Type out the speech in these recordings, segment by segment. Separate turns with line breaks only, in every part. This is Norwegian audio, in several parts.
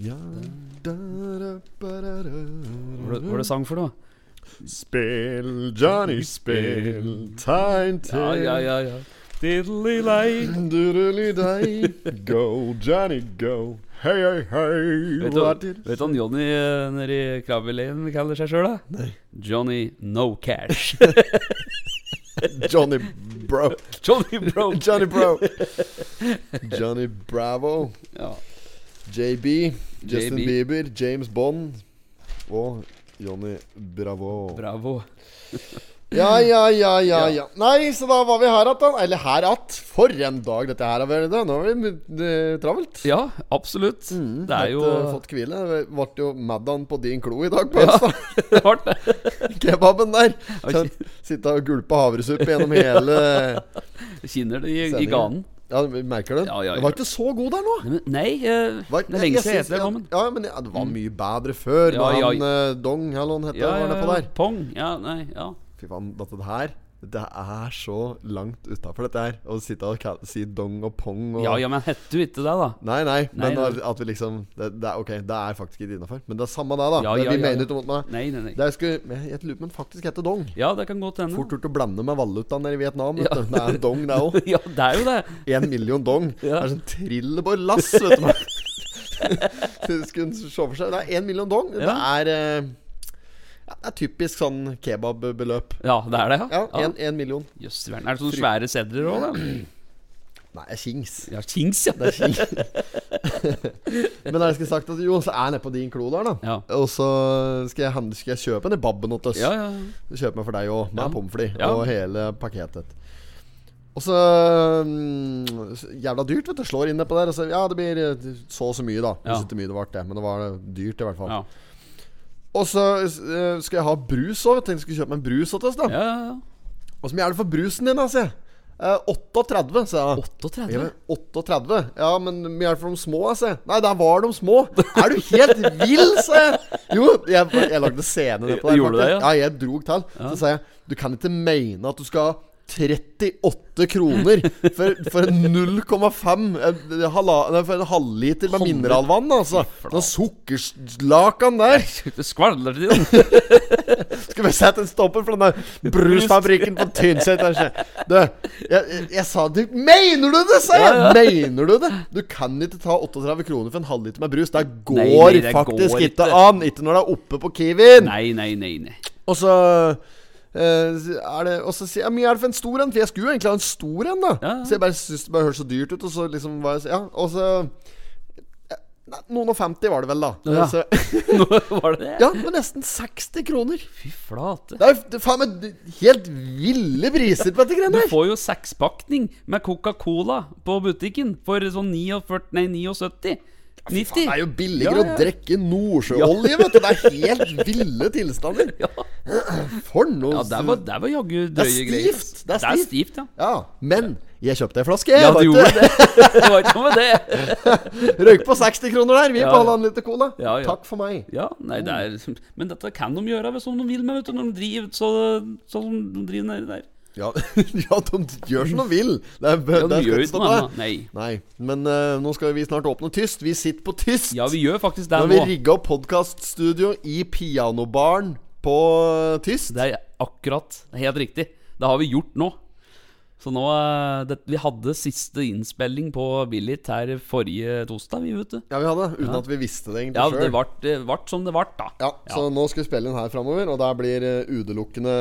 Ja, da, da, ba, da, da,
Hva er det- hva er det sang for noe?
Spill, Johnny, spill, tegn til
ja. Diddly-lei.
Durulidei. Go, Johnny, go. Hei, hei, hei.
Vet du
Hva
hva
er det?
vet du han Johnny eh, nede i Krabbeleien kaller seg sjøl, da?
Nei.
Johnny No Cash.
Johnny Bro.
Johnny Bro.
Johnny Bro. Johnny Bravo.
Ja.
JB. Justin
JB.
Bieber. James Bond. Og Johnny Bravo.
Bravo.
Ja, ja, ja, ja,
Ja.
ja. Nei, så da var vi her att, da. Eller her att. For en dag dette her har vært. da. Nå har det blitt eh, travelt.
Ja, absolutt. Det
Har ikke
er jo
Fått hvile. Det ble jo Maddan på din klo i dag, på
Ja.
onsdag.
Det var det.
Kebaben der.
Oi.
Kjenn- Sitte og gulpe havresuppe gjennom hele
Kinner det i, i
Sendingen.
ganen.
Ja, du merker det?
Ja, ja,
Det var
ja.
ikke så god der nå.
Nei, men- Nei, eh,
Var-
det er lenge siden jeg
synes-
heter det, Bommen.
Ja, men det- det var mye bedre før,
Ja,
da
ja.
han eh, Dong eller hva han het,
Ja,
var
ja,
nedpå
ja.
der.
Pong. Ja, nei, ja.
Fy faen, dette her Det er så langt utafor dette her. Å sitte og ka- si Dong og Pong og
Ja, ja, men hette du ikke det, da?
Nei, nei, men
Nei, nei.
at vi liksom det, det er Ok, det er faktisk ikke innafor, men det er samme det, da.
Ja,
det,
ja,
vi
ja,
mener
ja.
ikke mot meg.
Nei, nei, nei.
Det jeg skulle men Jeg lurer på om den faktisk heter dong.
Ja, det kan godt hende.
Fort gjort å blande med valutaen nede i Vietnam. vet
Ja.
du. Det er dong, det òg.
ja, det er jo det.
Én million dong. Det
Ja.
er sånn trillebår lass, vet du. Det skulle en se for seg. Det er én million dong. Det
Ja.
er eh, ja, Det er typisk sånn kebabbeløp.
Ja, det er det,
Ja,
ja.
én million.
Jøss, verden. er det sånne svære sedler òg, da?
Nei, det er kings.
Ja, kings, ja.
Det er kings. Men da jeg skulle sagt at jo, så er jeg nede på din klo der, da.
Ja,
Og så skal jeg, handle, skal jeg kjøpe den babben åt oss.
ja. ja.
Kjøpe meg for deg òg, med
Ja.
pommes frites
Ja.
og hele pakketet. Og så mm, så Jævla dyrt, vet du. Slår inn nedpå der. Og så, ja, det blir eh, så og så mye, da.
Ja.
Hvis ikke mye det ble, det. Men det var eh, dyrt, i hvert fall.
ja.
Og så eh, skal jeg ha brus òg. Tenkte jeg skulle kjøpe meg en brus til oss, da.
ja, ja, ja.
Og så mye er det for brusen din, da, sier jeg. Eh, 38, sa jeg.
38?
Ja, men 38? Ja, men mye er det for de små, altså. Nei, der var de små. Er du helt vill, sa jeg. Jo, jeg, jeg lagde scene ned på
Du gjorde det,
faktisk.
ja?
ja, jeg drog til. Så sa jeg du kan ikke mene at du skal ha 38 kroner for, for en 0,5 eh, hala- nei, For en halvliter med
Halvliter.
mineralvann, altså. Den sukkerlakan der.
Det skvalder til den.
Skal vi sette en stopper for denne brusfabrikken på Tynset? kanskje? Du, jeg, jeg, jeg sa du Mener du det?! sa jeg!
Ja, ja.
Mener du det?! Du kan ikke ta 38 kroner for en halvliter med brus. Det går
Nei, nei, det
faktisk
går
ikke
ikke.
an! Ikke når det er oppe på Kiwien!
Nei, nei, nei. nei.
Og så eh, er det Og så sier jeg «Ja, mye er det for en stor en? For jeg skulle jo egentlig ha en stor en, da.
Ja, ja.
Så jeg bare syntes det bare hørtes så dyrt ut, og så liksom var jeg Ja, og så Nei, Noen og 50 var det vel, da.
Ja.
Så,
Nå var det det.
ja, det var nesten 60 kroner.
Fy flate.
Det er jo det er faen meg helt ville priser på dette
Du
greiene her.
får jo sekspakning med Coca-Cola på butikken for sånn 49, nei, 79. 90.
Det er jo billigere
Ja, ja.
å drikke nordsjøolje, vet du. Det er helt ville tilstander.
Ja,
For noe
ja der var, der var jaggu drøye
er
greier.
stivt. Det er
Det er
stivt.
stivt, ja.
Ja, men jeg kjøpte ei flaske. Jeg,
Ja,
vet
du
du.
gjorde det. Det var ikke noe med det.
Røyk på 60 kroner der. Vi
Ja,
på
ja.
halvannen liter cola.
Ja, ja.
Takk for meg.
Ja, nei, det er, Men dette kan de gjøre hvis de vil, med, vet du, når de driver så, sånn som de driver nedi der.
Ja, ja de gjør som de vil. Det er,
Ja,
det
de
er
gjør
ikke
ikke
stopp
noe
der.
annet. Nei.
Nei, men eh, nå skal vi snart åpne tyst. Vi sitter på tyst.
Ja, vi gjør faktisk det
Nå har vi
nå.
rigga opp podkaststudio i pianobaren på eh, tyst.
Det er akkurat det er helt riktig. Det har vi gjort nå. Så nå eh, det, Vi hadde siste innspilling på Billit her forrige torsdag, vi, vet du.
Ja, vi hadde, uten at vi visste det egentlig
Ja,
selv.
det vart, det vart som det vart, da.
Ja, så nå skal vi spille inn her framover, og der blir eh, utelukkende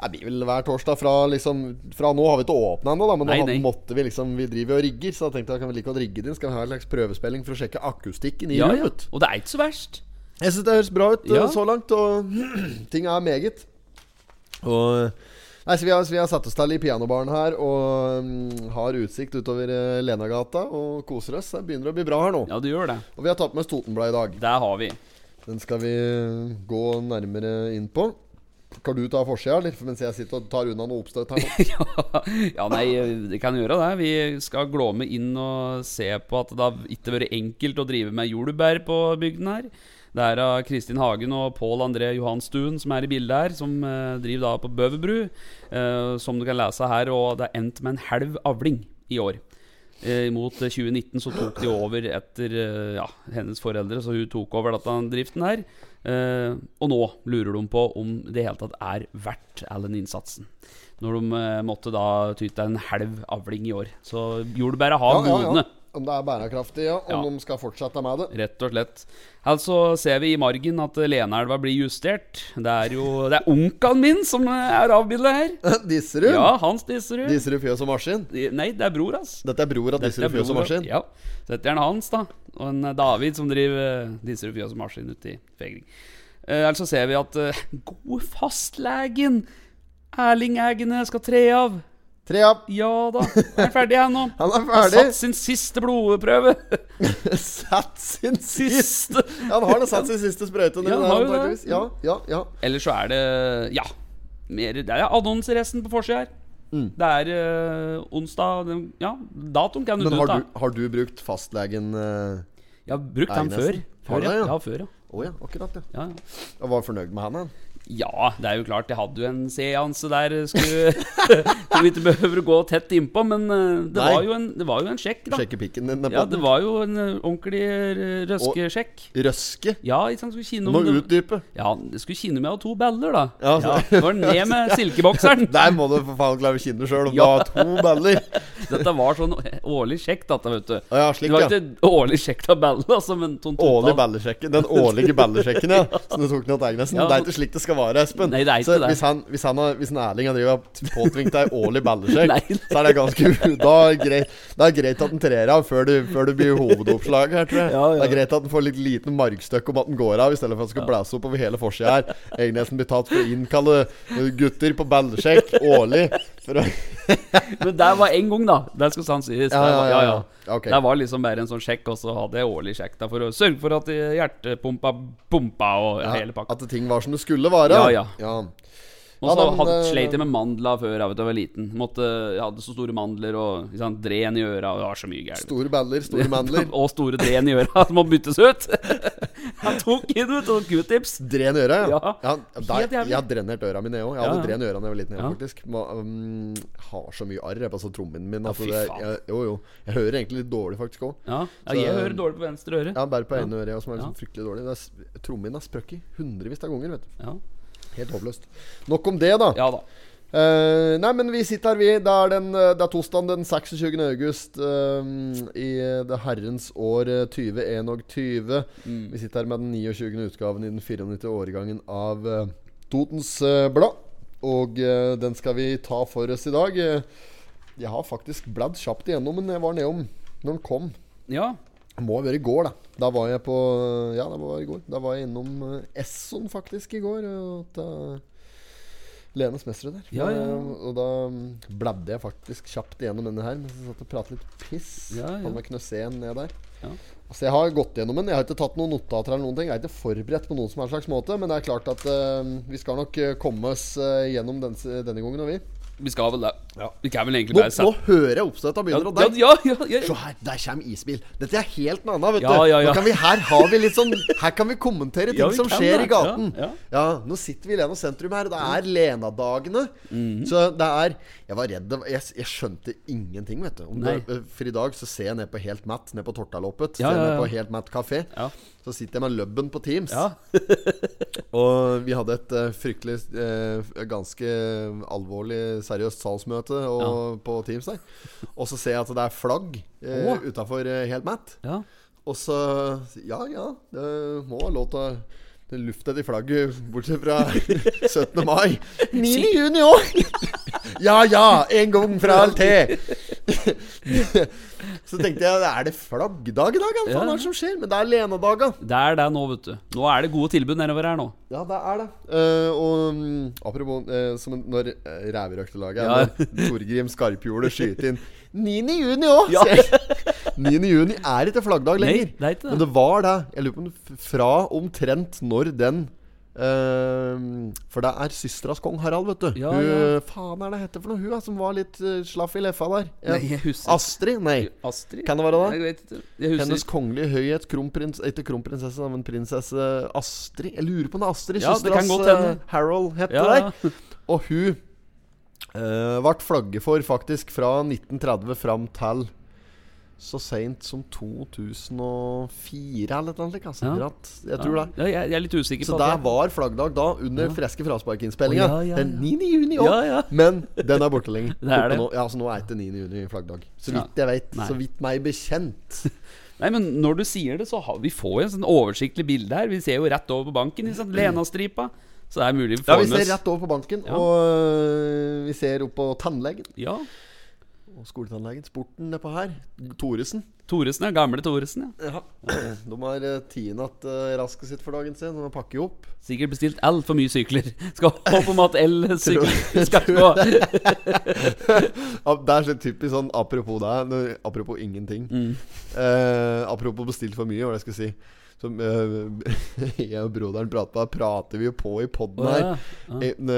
Det blir vel hver torsdag fra liksom Fra nå har vi ikke åpna ennå, da, men
Nei,
da
nei.
måtte vi liksom Vi driver jo og rigger, så da tenkte jeg kan vi like godt rigge det inn. Skal vi ha en slags prøvespilling for å sjekke akustikken i
Ja, ja.
rommet?
Og det er ikke så verst.
Jeg syns det høres bra ut eh,
Ja.
så langt, og ting er meget. Og Nei, så vi har, så vi har satt oss til i pianobaren her og mm, har utsikt utover eh, Lenagata og koser oss. Det begynner å bli bra her nå.
Ja, det gjør det.
Og vi har tatt med oss Totenbladet i dag.
Der har vi.
Den skal vi gå nærmere inn på. Kan du ta forsida, eller? Mens jeg sitter og tar unna noe oppstøt her. nå.
ja, ja, nei, det kan gjøre det. Vi skal glåme inn og se på at det har ikke vært enkelt å drive med jordbær på bygden her. Det er av Kristin Hagen og Pål André Johanstuen som er i bildet her, som eh, driver da på Bøverbru. eh, som du kan lese her, og det er endt med en halv avling i år. Eh, mot eh, 2019 så tok de over etter eh, ja, hennes foreldre, så hun tok over denne driften her. Eh, og nå lurer de på om det hele tatt er verdt all den innsatsen. Når de eh, måtte da ty til en halv avling i år. Så jordbæra har
ja,
modne.
ja. Om det er bærekraftig, ja. Om
Ja.
de skal fortsette med det.
Rett og slett. Altså ser vi i margen at Leneelva blir justert. Det er jo Det er onkelen min som eh, er avbilda her.
Disserud?
Ja, Hans Disserud.
Disserud Fjøs og Maskin?
Nei, det er bror hans.
Dette er bror av Disserud Fjøs og Maskin?
Ja. Så dette er han hans, da. Og en eh, David som driver eh, Disserud Fjøs og Maskin ute i Fegring. Eh, Ellers så ser vi at eh, gode fastlegen Erling Egene skal tre av.
Tre av.
Ja da, er han ferdig her nå.
Han er
Har
ferdig!
Satt sin siste blodprøve.
Satt sin siste
Siste.
Han har det satt sin siste sprøyte nå.
Ja,
Ja,
han har jo det.
ja, ja, ja.
Ellers så er det Ja. Mer, det er annonseresten på forsida her.
Mm.
Det er eh, onsdag den, Ja, datoen kan du
Men
ta
har
ut, da.
du, har du brukt fastlegen Å
Jeg har brukt
Nei,
den før.
nesten. Har
Før,
du
ja.
det, ja?
ja. Før, ja.
ja, akkurat, ja.
Ja, ja.
Jeg var fornøyd med han, han.
Ja, det er jo klart. Jeg hadde jo en seanse der eh, skulle, som vi ikke behøver å gå tett innpå, men eh, det
Nei.
var, jo en, det var jo en sjekk, da.
Sjekke pikken din.
Ja,
Ja,
det var jo en eh, ordentlig eh, røskesjekk.
Røske.
Ja, ikke sant, skulle kinne
Du må
om det,
utdype.
Ja, det skulle kinne med å ha to baller, da.
Ja,
Ja,
så-
det var ned med silkebokseren.
Der må du for faen klare å kinne sjøl om du
Ja.
har to baller.
Dette var sånn årlig sjekk, dette, vet du.
Ja,
Det
slik,
var
ja.
ikke årlig sjekk av baller, altså, men sånn
Årlig
totalt.
ballesjekken. Den årlige ballesjekken, ja. Som du tok ned til Egnesen.
Ja.
Det er ikke slik det skal være, Espen.
Nei, det er ikke
så
det.
Hvis, han, hvis, han har, hvis en Erling har drivet og påtvingt deg årlig
Nei,
ballesjekk,
nei.
så er det ganske Da er greit, det er greit at den trer av før du, før du blir hovedoppslag her, tror jeg.
Ja, ja.
Det er greit at den får litt liten margstøkk om at den går av, i stedet for at den skal blæse opp over hele forsida her. Egnesen blir tatt for å innkalle gutter på ballesjekk årlig. For å,
Men det var én gang, da. Det skal sant
Ja,
sies. Det
ja,
var-
ja, ja. Ok.
Det var liksom bare en sånn sjekk, og så hadde jeg årlig sjekk da for å sørge for at hjertepumpa pumpa og hele pakka.
at ting var som det skulle være.
Ja, ja. Og
Ja,
så
da, men,
hadde-
eh,
sleit jeg med mandler før jeg vet, da jeg var liten. Måtte, jeg hadde så store mandler og ikke sant, dren i øra, og det var så mye gærent.
Store baller, store mandler.
og store dren i øra som må byttes ut. Han tok inn ut og sånn Q-tips.
Dren øra, ja.
Ja.
ja. der,
Helt jævlig.
jeg har drenert øra mine, jeg òg. Jeg
Ja,
hadde
ja.
dren øra da jeg var liten. jeg,
Ja.
faktisk Må, um, Har så mye arr jeg, på så trommen min. Altså,
fy
det,
faen.
jeg, jo, jo. Jeg hører egentlig litt dårlig, faktisk òg.
Ja, ja,
Så-
jeg hører dårlig på venstre øre.
Ja, bare på ene øret jeg, som er
Ja.
liksom fryktelig dårlig. Det er, s- trommen min har sprøkket hundrevis av ganger. vet du
Ja.
Helt håpløst. Nok om det, da.
ja da.
Eh, nei, men vi sitter her, vi. Det er, den, eh, det er tosdagen den 26. august eh, i det herrens år eh, 2021. Vi sitter her med den 29. utgaven i den 94. årgangen av eh, Totens eh, Blad. Og eh, den skal vi ta for oss i dag. Eh, jeg har faktisk bladd kjapt igjennom, men jeg var nedom når den kom.
Ja.
Det Må ha vært i går, da. Da var jeg på Ja, det var i går. Da var jeg innom eh, Esson faktisk i går. eh, Og til Lenes Mestre der.
Ja, ja, ja.
Og da mm, bladde jeg faktisk kjapt igjennom denne her mens jeg satt og pratet litt piss.
Ja, ja.
Hadde meg knøsen ned der.
Ja.
Altså, jeg har gått gjennom den. Jeg har ikke tatt noen notater eller noen ting. Jeg er ikke forberedt på noen som helst slags måte, men det er klart at eh, vi skal nok eh, komme oss eh, gjennom den, denne gangen, og vi.
Vi skal vel det. Vi kan vel egentlig
Nå,
bare
nå hører jeg oppstøtta
Ja,
begynner, og
ja,
der
ja, ja, ja.
Se her, der kommer isbil. Dette er helt noe annet, vet
Ja,
du.
ja, ja.
Nå kan vi, her har vi litt sånn Her kan vi kommentere ting
Ja, vi
som
kan
skjer
det.
i gaten.
Ja,
Ja,
ja.
nå sitter vi i Lena sentrum her, og det er Lena-dagene.
Mhm.
Så det er Jeg var redd det var- jeg, jeg skjønte ingenting, vet du. Om det, eh, for i dag så ser jeg ned på Helt Matt, ned på Tortaloppet.
Ja,
ser
ja,
ned på
ja.
Helt Matt kafé.
Ja.
Så sitter jeg med lubben på Teams.
Ja.
Og vi hadde et eh, fryktelig eh, ganske alvorlig seriøst salgsmøte og, på Teams der. Og så ser jeg at det er flagg eh,
Åh.
utafor eh, helt matt.
Ja.
Og så Ja ja, det må ha lov til å det luftet i flagget, bortsett fra 17. mai. 9. juni òg! Ja ja, en gang fra alt til. Så tenkte jeg, er det flaggdag i dag? Hva faen er det som skjer? Men det er Lenedaga.
Det er det nå, vet du. Nå er det gode tilbud nedover her nå.
Ja, det er det. Eh, og mm, apropos eh, som en- når eh, Ræverøktelaget
Ja.
ja. Torgrim Skarphjulet skyter inn 9. juni òg! 9. juni er ikke flaggdag
Nei,
lenger.
det er ikke det.
Men det var det. Jeg lurer på om f- fra omtrent når den eh, For det er søstras kong Harald, vet du.
Ja,
hun,
ja.
Faen er det hette for noe, hun da, som var litt eh, slaff i leffa der? Ja.
Nei, jeg husker
Astrid? Nei.
Astrid?
Kan det være det?
Jeg vet ikke. Jeg husker
Hennes kongelige høyhet, kronprins, ikke kronprinsesse, men prinsesse Astrid Jeg lurer på om det er Astrid,
Ja, det kan
søsteras
godt hende.
eh, Harold het
Ja,
det
ja.
der. Og hun eh, ble flagget for faktisk fra 1930 fram til så seint som 2004 eller noe slikt. Altså,
Ja.
Dratt. Jeg tror det.
Ja, jeg, jeg er litt usikker
Så
på
der
at jeg-
var flaggdag da, under freske frasparkinnspillinga.
Å, ja, ja,
Den 9. juni òg.
Ja, ja.
Men den er borte lenger.
Det er
Borte
det.
Nå, ja, så nå er det 9. juni flaggdag. Så
Ja.
vidt jeg vet.
Nei.
Så vidt meg bekjent.
Nei, men når du sier det, så har vi får jo en sånn oversiktlig bilde her. Vi ser jo rett over på banken i sånn Lena-stripa. Så det er mulig vi
Ja,
får
vi
med
ser
oss-
rett over på banken,
Ja.
og øh, vi ser opp på tannlegen.
Ja.
Og skoletannlegen. Sporten nedpå her. Thoresen.
Thoresen, ja. Gamle Thoresen, ja.
De har eh, tiendehatt eh, rasket sitt for dagen sin. De pakker jo opp.
Sikkert bestilt altfor mye sykler. Skal håpe om at el-sykler skal gå.
Ja, det er så typisk sånn apropos deg, når- apropos ingenting.
Mm.
Eh, apropos bestilt for mye, hva var det jeg skulle si. Som eh, jeg og broderen prater med, prater vi jo på i poden her.
Å, ja.
Eh, n-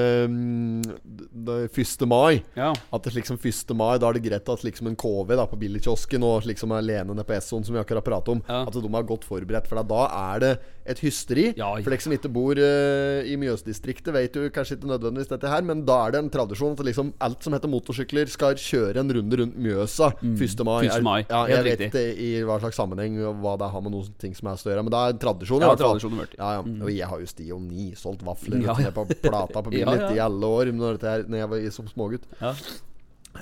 eh, 1. mai.
Ja.
At det liksom 1. mai, da er det greit at liksom en KV da på billigkiosken og liksom alene nede på Essoen, som vi akkurat pratet om,
Ja.
at de er godt forberedt. For da- da er det et hysteri.
Ja, ja.
For de som ikke bor eh, i Mjøsdistriktet, vet jo kanskje ikke nødvendigvis dette her, men da er det en tradisjon at liksom alt som heter motorsykler, skal kjøre en runde rundt Mjøsa 1. mai.
1. Mm. mai,
Ja, jeg
helt
vet
riktig.
ikke i hva slags sammenheng og hva det har med noen ting som er større, men det er en tradisjon. i
Ja,
hvert fall.
tradisjon har vært.
Ja, ja. Og jeg har jo sti om ni, solgt vafler
Ja,
ute
ja.
på plata på
Ja,
Billit
ja.
i alle år når, dette her, når jeg var i- som smågutt.
Ja.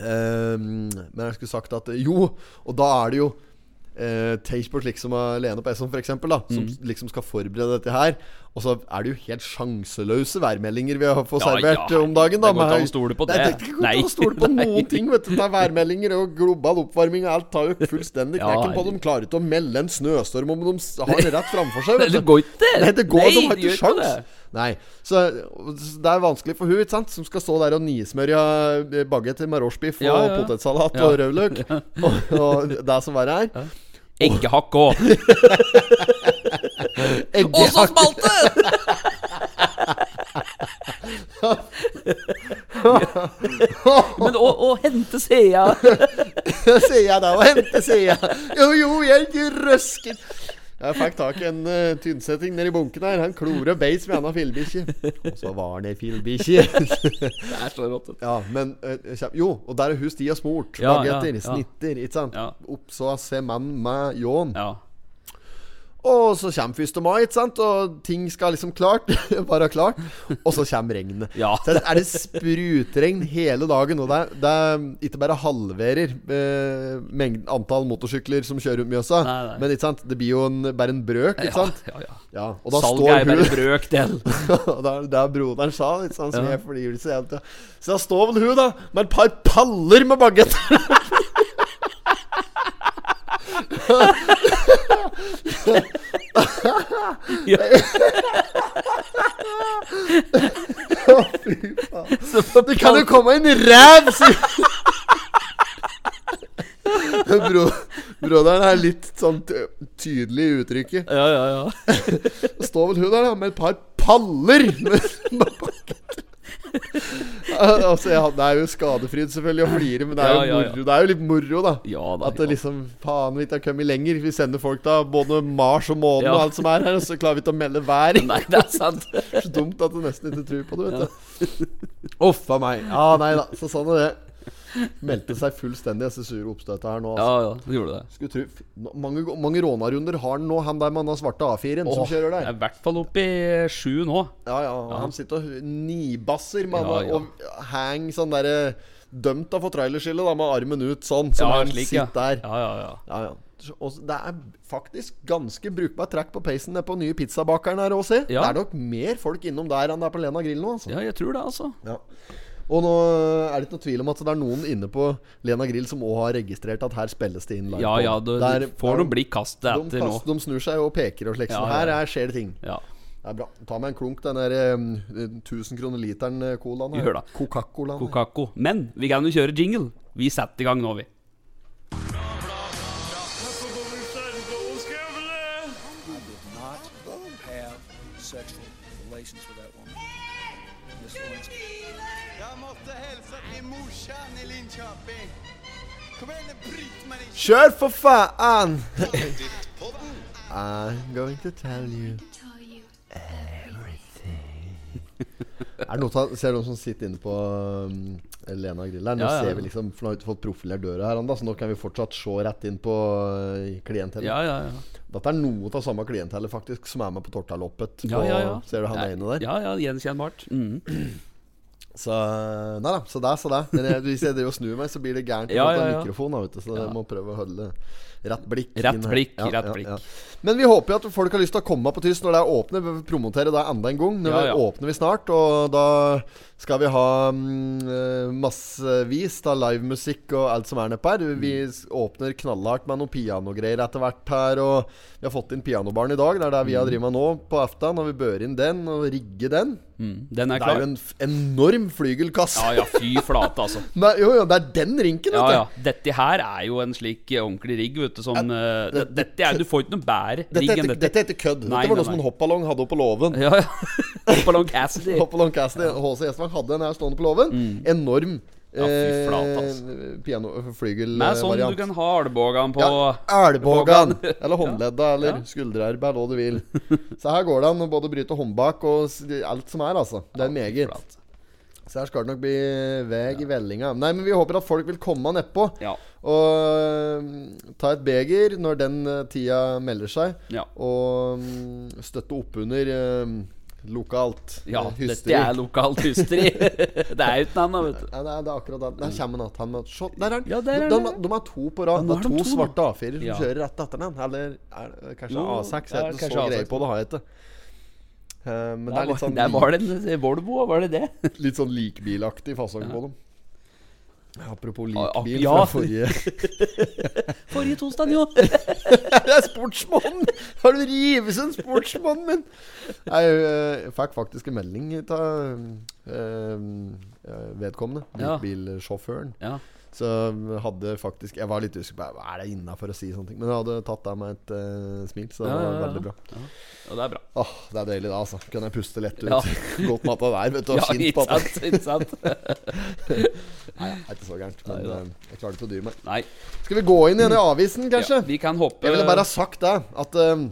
Ehm, men jeg skulle sagt at eh, jo, og da er det jo eh, Tashport liksom av Lene på Esson, for eksempel, da,
Mm.
som liksom skal forberede dette her. Og så er det jo helt sjanseløse værmeldinger vi har fått
Ja,
servert
ja,
om dagen. da
det går ikke
med-
an å stole på
Nei,
det.
det går
Nei.
ikke an å stole på
Nei.
noen ting, vet du. Det er værmeldinger og global oppvarming og alt tar jo fullstendig
Ja,
knekken på dem. Klarer ikke å melde en snøstorm om de s- har det rett framfor seg.
Nei,
vet du.
det går ikke!
Nei, det går, de har
det gjør
ikke sjans.
det.
Nei, så, så det er vanskelig for hun, ikke sant, som skal stå der og nismørja eh, bagetter med rorsbiff
Ja,
og
ja, ja.
potetsalat
Ja.
og rødløk og, og det som verre er.
Eggehakk òg. Og så
Eggehakk
smalt det! Men å, å hente Sea
sier jeg da, og hente, sier jeg. Jo, jo, jeg ikke røsker. Jeg fikk tak i en eh, tynnsetting nede i bunken her. Han klore beis med anna fillebikkje. Og så var han ei fillebikkje.
Det er så rått.
ja, men eh, kjem- Jo, og der er hun stia smurt.
Ja, ja,
Bagetter,
ja.
snitter, ikke sant.
Ja.
Oppså se mann med ljån.
Ja.
Og så kommer 1. mai, ikke sant? og ting skal liksom klart være klart. Og så kommer regnet.
Ja.
Så er det sprutregn hele dagen. Og det er, det er ikke bare halverer eh, mengden, antall motorsykler som kjører rundt Mjøsa,
Nei, nei.
men ikke sant? det blir jo en, bare en brøk, ikke sant?
Ja, ja, ja.
Ja, og da
Salget er jo bare en brøkdel.
og da er det der broderen sa, litt sånn som jeg forgivelse jeg vet. Så da står vel hun, da, med et par paller med bagetter.
Ja.
Å, fy faen.
Så på
Det kan jo komme en ræv, sier Bro, Broderen er litt sånn t- tydelig i uttrykket.
Ja, ja, ja.
står vel hun der da med et par paller med med pakket. altså, jeg, hadde- det er jo skadefryd selvfølgelig å flire, men det er, jo
Ja, ja, ja.
Moro, det er jo litt moro, da.
Ja da.
At det
ja.
liksom Faen, vi ikke har kommet lenger. Vi sender folk da både Mars og månen
Ja.
og alt som er her, og så klarer vi ikke å melde vær.
Nei, det er sant.
Så dumt at du nesten ikke tror på det, liksom- vet du. Uff a meg. Ja, nei da. Så sånn er det. Meldte seg fullstendig disse sure oppstøtene her nå.
Ja,
Altså.
ja, du gjorde det.
Skulle tro f- mange, mange rånarunder har han nå, han der med den svarte A4-en som
Åh,
kjører der.
Jeg er i hvert fall oppe i sju nå.
Ja, ja. og Han sitter og nibasser med
Ja, ja.
og hang sånn derre Dømt av for trailerskille, da, med armen ut sånn, som
ja,
han
slik, ja.
sitter der.
Ja, ja, ja.
Ja, ja. Så- Og så- det er faktisk ganske brukbar trekk på peisen nede på nye pizzabakeren her òg, se.
Ja.
Det er nok mer folk innom der enn det er på Lena Grill nå, altså.
Ja, jeg tror det, altså.
Ja. Og nå eh, er det ikke noe tvil om at det er noen inne på Lena Grill som òg har registrert at her spilles det inn live.
Ja,
på.
ja, du,
Der-
du får
der-
noe blikk kastet
de,
etter nå.
kast- de snur seg og peker og slik.
Ja,
så
ja,
her
ja.
er, skjer det ting.
Ja.
Det er bra. Ta meg en klunk den der um, 1000 kroner literen eh, colaen. her.
Gjør det.
Coca-Colaen. her.
Kokako. Men vi kan jo kjøre jingle. Vi setter i gang nå, vi.
not have sexual relations with that woman. Miss Lewinsky.
Jeg måtte hilse til morsan i Linköping. Kom igjen, Britt-Marie.
Kjør, for faen!
Podden.
I'm going to tell you
tell you
everything. Er det noe, ta- ser du noen som sitter inne på um, Lena Grill her? Nå
Ja, ja.
ser vi liksom For nå har vi ikke fått profilert døra her, Anda, så nå kan vi fortsatt se rett inn på uh, klientellet.
Ja, ja, ja.
Dette er noe av samme klientellet faktisk som er med på Tortaloppet.
Ja,
på-
ja, ja.
Ser du han
Nei,
ene der?
Ja, ja, gjenkjennbart. Mm.
Så Nei da, så det, så det. Men jeg- Hvis jeg driver og snur meg, så blir det gærent.
Ja,
Ja,
ja, ja.
Mikrofon, da, vet du, så
Ja.
jeg må prøve å holde rett blikk.
Rett
inn her.
blikk, rett blikk.
Men vi håper jo at folk har lyst til å komme på tysk når det er åpne. Vi promoterer det enda en gang. Nå
Ja, ja.
åpner vi snart, og da skal vi ha mm, eh, massevis av livemusikk og alt som er nedpå her. Vi
Mm.
s- åpner knallhardt med noe pianogreier etter hvert her, og vi har fått inn pianobaren i dag. Det er det vi har drevet med nå på aften, og vi bør inn den og rigge den.
Mm. Den er
Det er
klar.
jo en f enorm flygelkasse.
Ja, ja, fy flate, altså.
Nei, jo, jo, det er den rinken,
Ja,
vet du.
ja. Dette her er jo en slik eh, ordentlig rigg, vet du, som eh, det- Dette er Du får ikke noe bedre rigg
Dette
enn
heter,
dette.
dette heter kødd.
Nei,
dette var
nei,
noe som
nei.
en hoppballong hadde oppe på låven.
Ja, ja. Hoppalong Cassidy.
Hoppballong Cassidy, HC Gjestvang, hadde den her stående på låven. Enorm
Mm. Ja, fy flate,
eh, pianoflygelvariant.
Med sånn du kan ha albuen på.
Eh, ja, Elbogan,
Bågan.
eller håndledda, eller
Ja.
skulderarbeid, hva du vil. Så her går det an å både bryte håndbak og s- alt som er, altså. Det er meget.
Flate.
Så her skal det nok bli veg i vellinga. Nei, men vi håper at folk vil komme nedpå.
Ja.
Og mm, ta et beger når den eh, tida melder seg,
Ja.
og mm, støtte oppunder eh, lokalt
ja,
eh,
dette er lokalt hysteri. det er uten annet, vet du.
Ja, det, er, det er akkurat det. Der kommer han att. han med- Se, Der er han!
Ja, der er
de,
han, ja.
de, de er to på rad.
Ja,
det
nå er
er
de
to
to, nå.
svarte A4 som
Ja.
kjører rett etter den. Eller er, det kanskje
Jo,
A6?
ja,
Jeg vet ikke
kanskje
så greie
A6.
på det, har jeg ikke. Eh, men det
Der
er litt
var-
sånn,
Der var det en Volvo, var det det?
lik- litt sånn likbilaktig fasong på dem. Apropos
Ah, ak-
likbil
ja.
fra forrige
Forrige tosdag, jo.
Jeg er sportsmannen! Har du revet som sportsmannen min? Jeg øh, fikk faktisk en melding av ehm, eh, vedkommende,
Ja.
bilsjåføren.
Ja.
Så hadde faktisk Jeg var litt usikker på Er det innafor å si sånne ting. Men jeg hadde tatt av meg et øh, smil, så det
Ja,
var
ja, ja.
veldig bra.
Og det er bra.
Åh, Det er deilig da, altså. Kunne jeg puste lett ut.
Ja.
Godt med at det er der, vet du. Og
Ja,
skint
ikke
på at det
sant? Ikke sant?
Nei, det er ikke så gærent. Men
Neida.
øh, jeg klarer ikke å dy meg.
Nei.
Skal vi gå inn igjen i avisen, kanskje?
Ja, vi kan hoppe
Jeg ville bare ha sagt det. At eh,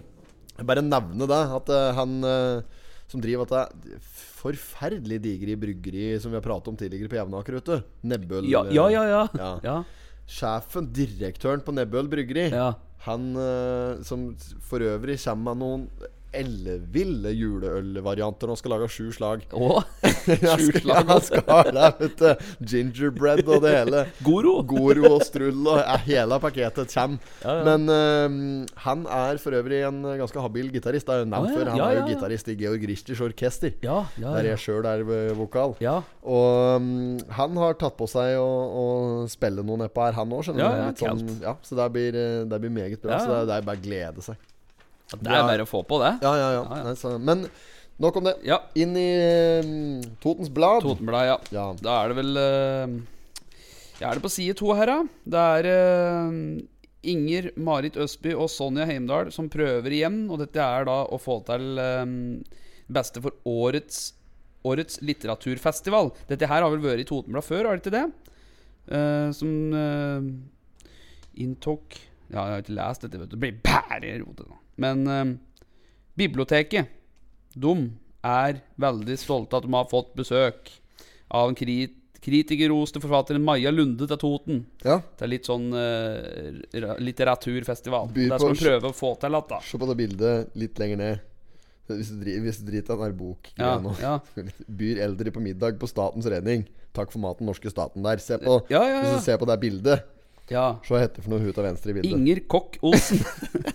jeg Bare nevne det. At eh, han eh, som driver dette forferdelig digre bryggeri som vi har pratet om tidligere på Jevnaker, vet du. Nebbøl.
ja, ja, ja, ja.
eh, ja.
ja.
Sjefen, direktøren på Nebbøl bryggeri,
Ja.
han eh, som for øvrig kommer med noen elleville juleølvarianter og skal lage sju slag.
Og
Jeg skal-
Sjuslag.
jeg skal ha det, vet du. Gingerbread og det hele.
Goro.
Goro og strull og ja, hele pakketet kommer.
Ja, ja.
Men øhm, han er for øvrig en ganske habil gitarist. Det er jo nevnt
Ah, ja.
før. Han
Ja,
er jo
ja, ja.
gitarist i Georg Richters orkester.
Ja, ja,
Der
ja.
jeg sjøl er øh, vokal.
Ja.
Og øhm, han har tatt på seg å, å spille noe nedpå her, han òg, skjønner
Ja,
du.
ja,
Litt sånn,
kaldt.
ja, så det blir, øh, det blir meget bra.
Ja,
Så det
ja.
er, det er bare å glede seg.
Det er bare å få på det.
Ja, ja, ja.
Ja, ja.
Nei, så, men nok om det.
Ja.
Inn i øhm, Totens Blad.
Totenblad, ja.
Ja.
Da er det vel eh, ja, Er det på side to her, da? Det er eh, Inger Marit Østby og Sonja Heimdal som prøver igjen. Og dette er da å få til eh, beste for årets, årets litteraturfestival. Dette her har vel vært i Totenblad før, har det ikke det? Eh, som eh, inntok Ja, jeg har ikke lest dette, vet du. Det blir bare rot. nå. Men eh, biblioteket, de er veldig stolte at de har fått besøk av en krit kritikerroste forfatteren Maja Lunde til Toten.
Ja.
Det er litt sånn eh, ra- litteraturfestival.
Byr
Det
på
er som å
sj-
prøve å få til at da.
Se på det bildet litt lenger ned. Hvis du, dri, hvis du driter den her bok
Ja,
nå.
ja.
Byr eldre på middag på statens redning. Takk for maten, norske staten der. Se på,
Ja, ja, ja.
Hvis du ser på det bildet,
ja.
se hva heter det for noe hun til venstre i bildet.
Inger Kokk Olsen.